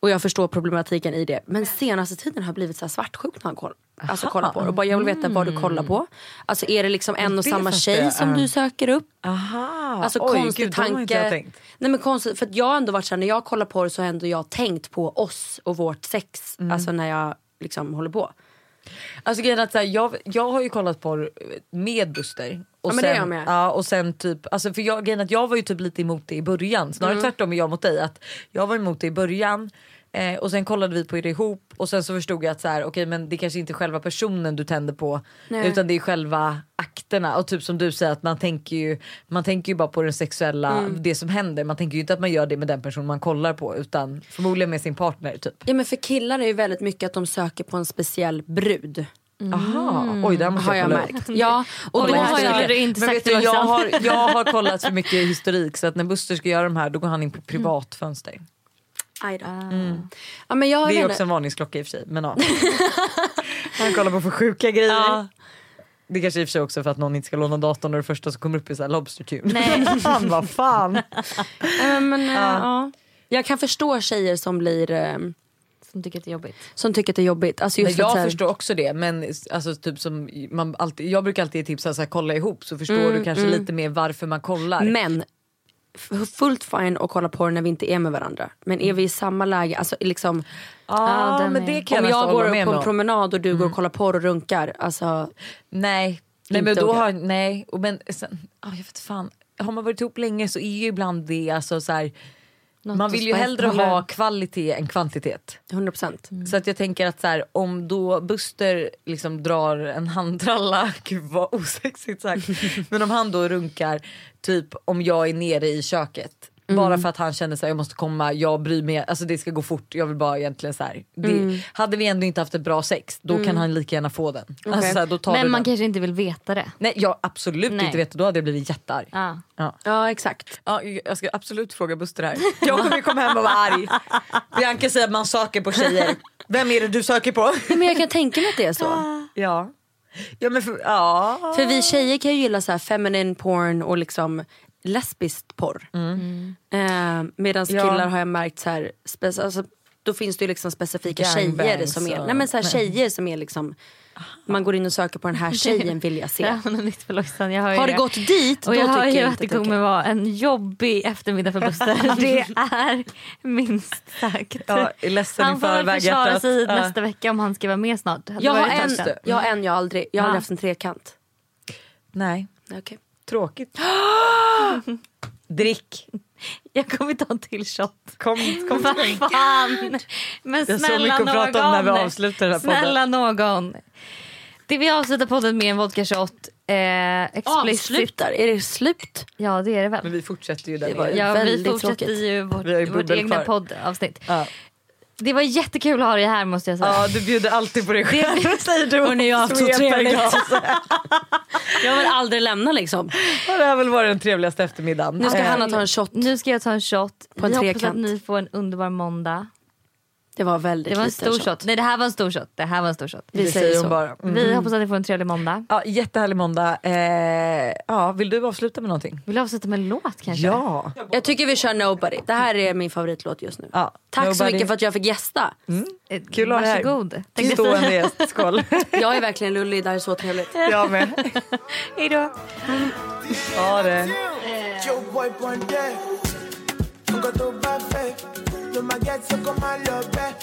Speaker 4: Och jag förstår problematiken i det. Men senaste tiden har jag blivit så här svartsjuk när jag koll, alltså kollar på det. Och bara, jag vill veta vad du kollar på. Alltså är det liksom en och
Speaker 2: Det
Speaker 4: samma
Speaker 2: fattar
Speaker 4: tjej
Speaker 2: jag.
Speaker 4: som du söker upp?
Speaker 2: Aha,
Speaker 4: Alltså konstig
Speaker 2: gud, de har
Speaker 4: tanke.
Speaker 2: inte jag tänkt.
Speaker 4: Nej men konstigt, för att jag har ändå varit så här, när jag kollar på det så har ändå jag tänkt på oss och vårt sex.
Speaker 2: Mm.
Speaker 4: Alltså när jag liksom håller på.
Speaker 2: Alltså grejen är att så här, jag, jag har ju kollat porr med Buster. Och
Speaker 4: Ja, men det
Speaker 2: sen,
Speaker 4: är jag med.
Speaker 2: Ja, och sen typ, alltså för jag, grejen är att jag var ju typ lite emot det i början. Snarare
Speaker 4: Mm.
Speaker 2: tvärtom är jag mot dig. Att jag var emot det i början eh, och sen kollade vi på det ihop och sen så förstod jag att så här, okej, men det kanske inte är själva personen du tänder på utan det är själva akterna. Och typ som du säger att man tänker ju, man tänker ju bara på den sexuella,
Speaker 4: Mm.
Speaker 2: det som händer. Man tänker ju inte att man gör det med den person man kollar på utan förmodligen med sin partner typ.
Speaker 4: Ja men för killar är ju väldigt mycket att de söker på en speciell brud.
Speaker 2: Aha, oj där måste
Speaker 4: Mm. Har
Speaker 2: jag
Speaker 4: jag
Speaker 2: kolla upp.
Speaker 4: märkt. Ja,
Speaker 2: Och
Speaker 4: och då
Speaker 2: det
Speaker 3: men
Speaker 4: har
Speaker 2: här
Speaker 3: skulle
Speaker 4: jag...
Speaker 2: skulle-
Speaker 3: du inte
Speaker 2: men
Speaker 3: sagt
Speaker 2: vet
Speaker 3: det
Speaker 2: du,
Speaker 3: var
Speaker 2: jag,
Speaker 3: sant.
Speaker 2: har, jag har kollat för mycket historik så att när Buster ska göra de här då går han in på privat fönster.
Speaker 4: Aj
Speaker 3: Ah,
Speaker 4: då. Ja, men jag har
Speaker 2: Det är
Speaker 4: redan-
Speaker 2: också en varningsklocka i och för sig. Men ja. han kollar på för sjuka grejer. Det kanske i och för sig också är för att någon inte ska låna datorn och det första som kommer upp är så här Lobster Tune.
Speaker 3: Nej.
Speaker 2: han bara fan.
Speaker 4: Nej, men, eh, ja. Jag kan förstå tjejer som blir eh,
Speaker 3: Som tycker att det är jobbigt.
Speaker 4: som tycker att det är jobbigt. Alltså just
Speaker 2: Nej,
Speaker 4: att, så
Speaker 2: jag
Speaker 4: här,
Speaker 2: förstår också det men alltså, typ som man alltid, jag brukar alltid tipsa så här, kolla ihop så förstår du kanske lite mer varför man kollar.
Speaker 4: Men f- fullt fine att kolla på när vi inte är med varandra. Men är vi i samma läge, alltså liksom,
Speaker 2: ah,
Speaker 3: Ja, den
Speaker 2: men
Speaker 3: är-
Speaker 2: det kan
Speaker 4: om
Speaker 2: jag, nästan
Speaker 4: jag
Speaker 2: hålla med
Speaker 4: går på
Speaker 2: mig
Speaker 4: en
Speaker 2: om. Mm.
Speaker 4: promenad och du går och kollar porr och runkar. Alltså,
Speaker 2: Nej, nej men
Speaker 4: Inte
Speaker 2: då
Speaker 4: okej.
Speaker 2: har, nej, och men sen, ah, jag vet fan. Har man varit ihop länge så är ju ibland det alltså så här, man
Speaker 3: att
Speaker 2: vill ju
Speaker 3: spara-
Speaker 2: hellre
Speaker 3: hålla-
Speaker 2: ha kvalitet än kvantitet.
Speaker 4: 100 procent.
Speaker 2: Så att jag tänker att så här, om då Buster liksom drar en handtralla, gud vad osexigt sagt. Men om han då runkar, typ om jag är nere i köket. Bara för att han känner sig jag måste komma, jag bryr mig, alltså det ska gå fort, jag vill bara egentligen så här. Det, Hade vi ändå inte haft ett bra sex, då kan han lika gärna få den. Alltså, så här, då tar
Speaker 3: Men
Speaker 2: du
Speaker 3: man
Speaker 2: den.
Speaker 3: kanske inte vill veta det.
Speaker 2: Nej jag absolut
Speaker 3: Nej.
Speaker 2: inte vet då hade jag blivit jättearg.
Speaker 3: Ja.
Speaker 2: Ja.
Speaker 4: Ja exakt.
Speaker 2: Ja, jag ska absolut fråga Buster här. Jag kommer ju komma hem och vara arg. Bianca säger att man söker på tjejer. Vem är det du söker på?
Speaker 4: Nej, men jag kan tänka mig att det är så.
Speaker 2: Ja. Ja men för, ja.
Speaker 4: För vi tjejer kan ju gilla så här feminine porn och liksom lesbiskt porr.
Speaker 3: Mm.
Speaker 4: Eh, Medan
Speaker 2: Ja.
Speaker 4: killar har jag märkt så här, spec- alltså, då finns det ju liksom specifika
Speaker 2: Gangbangs
Speaker 4: tjejer som är,
Speaker 2: och-
Speaker 4: nej men så här, tjejer som är liksom, man går in och söker på den här tjejen vill jag
Speaker 3: Det
Speaker 4: se.
Speaker 3: här var något nytt för Lojsan. Jag har ju
Speaker 4: Har det gått dit,
Speaker 3: Och
Speaker 4: då
Speaker 3: jag
Speaker 4: tycker
Speaker 3: hör ju
Speaker 4: jag
Speaker 3: att det
Speaker 4: inte att det är
Speaker 3: kommer
Speaker 4: okej.
Speaker 3: vara en jobbig eftermiddag för Buster. Det är minst sagt.
Speaker 2: Ja, jag är ledsen
Speaker 3: han
Speaker 2: i
Speaker 3: får väl
Speaker 2: förväg,
Speaker 3: försvara
Speaker 2: hjärtat.
Speaker 3: sig
Speaker 2: Ja.
Speaker 3: nästa vecka om han ska vara med snart. Det hade
Speaker 4: Jag har,
Speaker 3: varit ett tag
Speaker 4: en,
Speaker 3: sedan.
Speaker 4: jag har en, jag har aldrig, jag har aldrig haft en trekant.
Speaker 2: Nej.
Speaker 4: Okay.
Speaker 2: Tråkigt. Drick.
Speaker 3: Jag kommer ta en till shot.
Speaker 2: Kom, kom
Speaker 3: Vad fan. Men
Speaker 2: Oh Jag har så
Speaker 3: snälla
Speaker 2: mycket att
Speaker 3: någon.
Speaker 2: prata om när vi avslutar den här podden.
Speaker 3: snälla någon. Det vi avslutar podden med en vodka shot. Eh, explicit.
Speaker 4: Avslutar, är det slut?
Speaker 3: Ja det är det väl.
Speaker 2: Men vi fortsätter ju
Speaker 4: Det var-
Speaker 2: där.
Speaker 3: Ja, vi
Speaker 4: väldigt
Speaker 3: fortsätter
Speaker 4: tråkigt.
Speaker 3: ju vårt,
Speaker 2: Vi har ju
Speaker 3: vårt
Speaker 2: bubbel
Speaker 3: egna
Speaker 2: kvar.
Speaker 3: poddavsnitt.
Speaker 2: Ja.
Speaker 3: Det var jättekul att ha dig här måste jag säga.
Speaker 2: Ja du bjuder alltid på dig själv säger du.
Speaker 4: Hörni, jag har haft så
Speaker 2: Sveper
Speaker 4: trevligt.
Speaker 2: glas.
Speaker 4: Jag vill aldrig lämna liksom.
Speaker 2: Det här har väl varit den trevligaste eftermiddagen.
Speaker 4: Nu ska
Speaker 2: Eh,
Speaker 4: Hanna ta en shot.
Speaker 3: Nu ska jag ta en shot.
Speaker 4: På en
Speaker 3: vi hoppas
Speaker 4: trekant.
Speaker 3: att ni får en underbar måndag.
Speaker 4: Det var väldigt
Speaker 3: Det var en
Speaker 4: liten
Speaker 3: stor shot. Nej det här var en stor shot. Det här var en stor shot.
Speaker 4: Vi
Speaker 2: det
Speaker 4: säger
Speaker 2: säger
Speaker 4: så.
Speaker 2: hon bara. Mm.
Speaker 3: Vi hoppas att ni får en trevlig måndag.
Speaker 2: Ja, jättehärlig måndag. Eh, ja, vill du avsluta med någonting?
Speaker 3: Vill du avsluta med en låt kanske?
Speaker 2: Ja.
Speaker 4: Jag tycker vi kör Nobody. Det här är min favoritlåt just nu.
Speaker 2: Ja,
Speaker 4: Tack så
Speaker 2: Nobody. Mm.
Speaker 4: mycket för att jag fick gästa.
Speaker 3: Eh,
Speaker 2: Kul att ha dig här.
Speaker 3: Varsågod. Tänkte jag
Speaker 2: Stående
Speaker 3: säga.
Speaker 2: gäst. Skål.
Speaker 4: Jag är verkligen lullig, det här är så trevligt.
Speaker 2: Jag med.
Speaker 3: Hej då.
Speaker 2: Ha det.
Speaker 7: Yo, wipe one day. Nunca tu eh? babe. Yo me get so con my love, babe.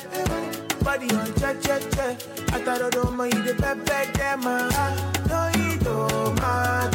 Speaker 7: Body on check, check, check. Hasta Quero doma y de pepe quema. No y toma,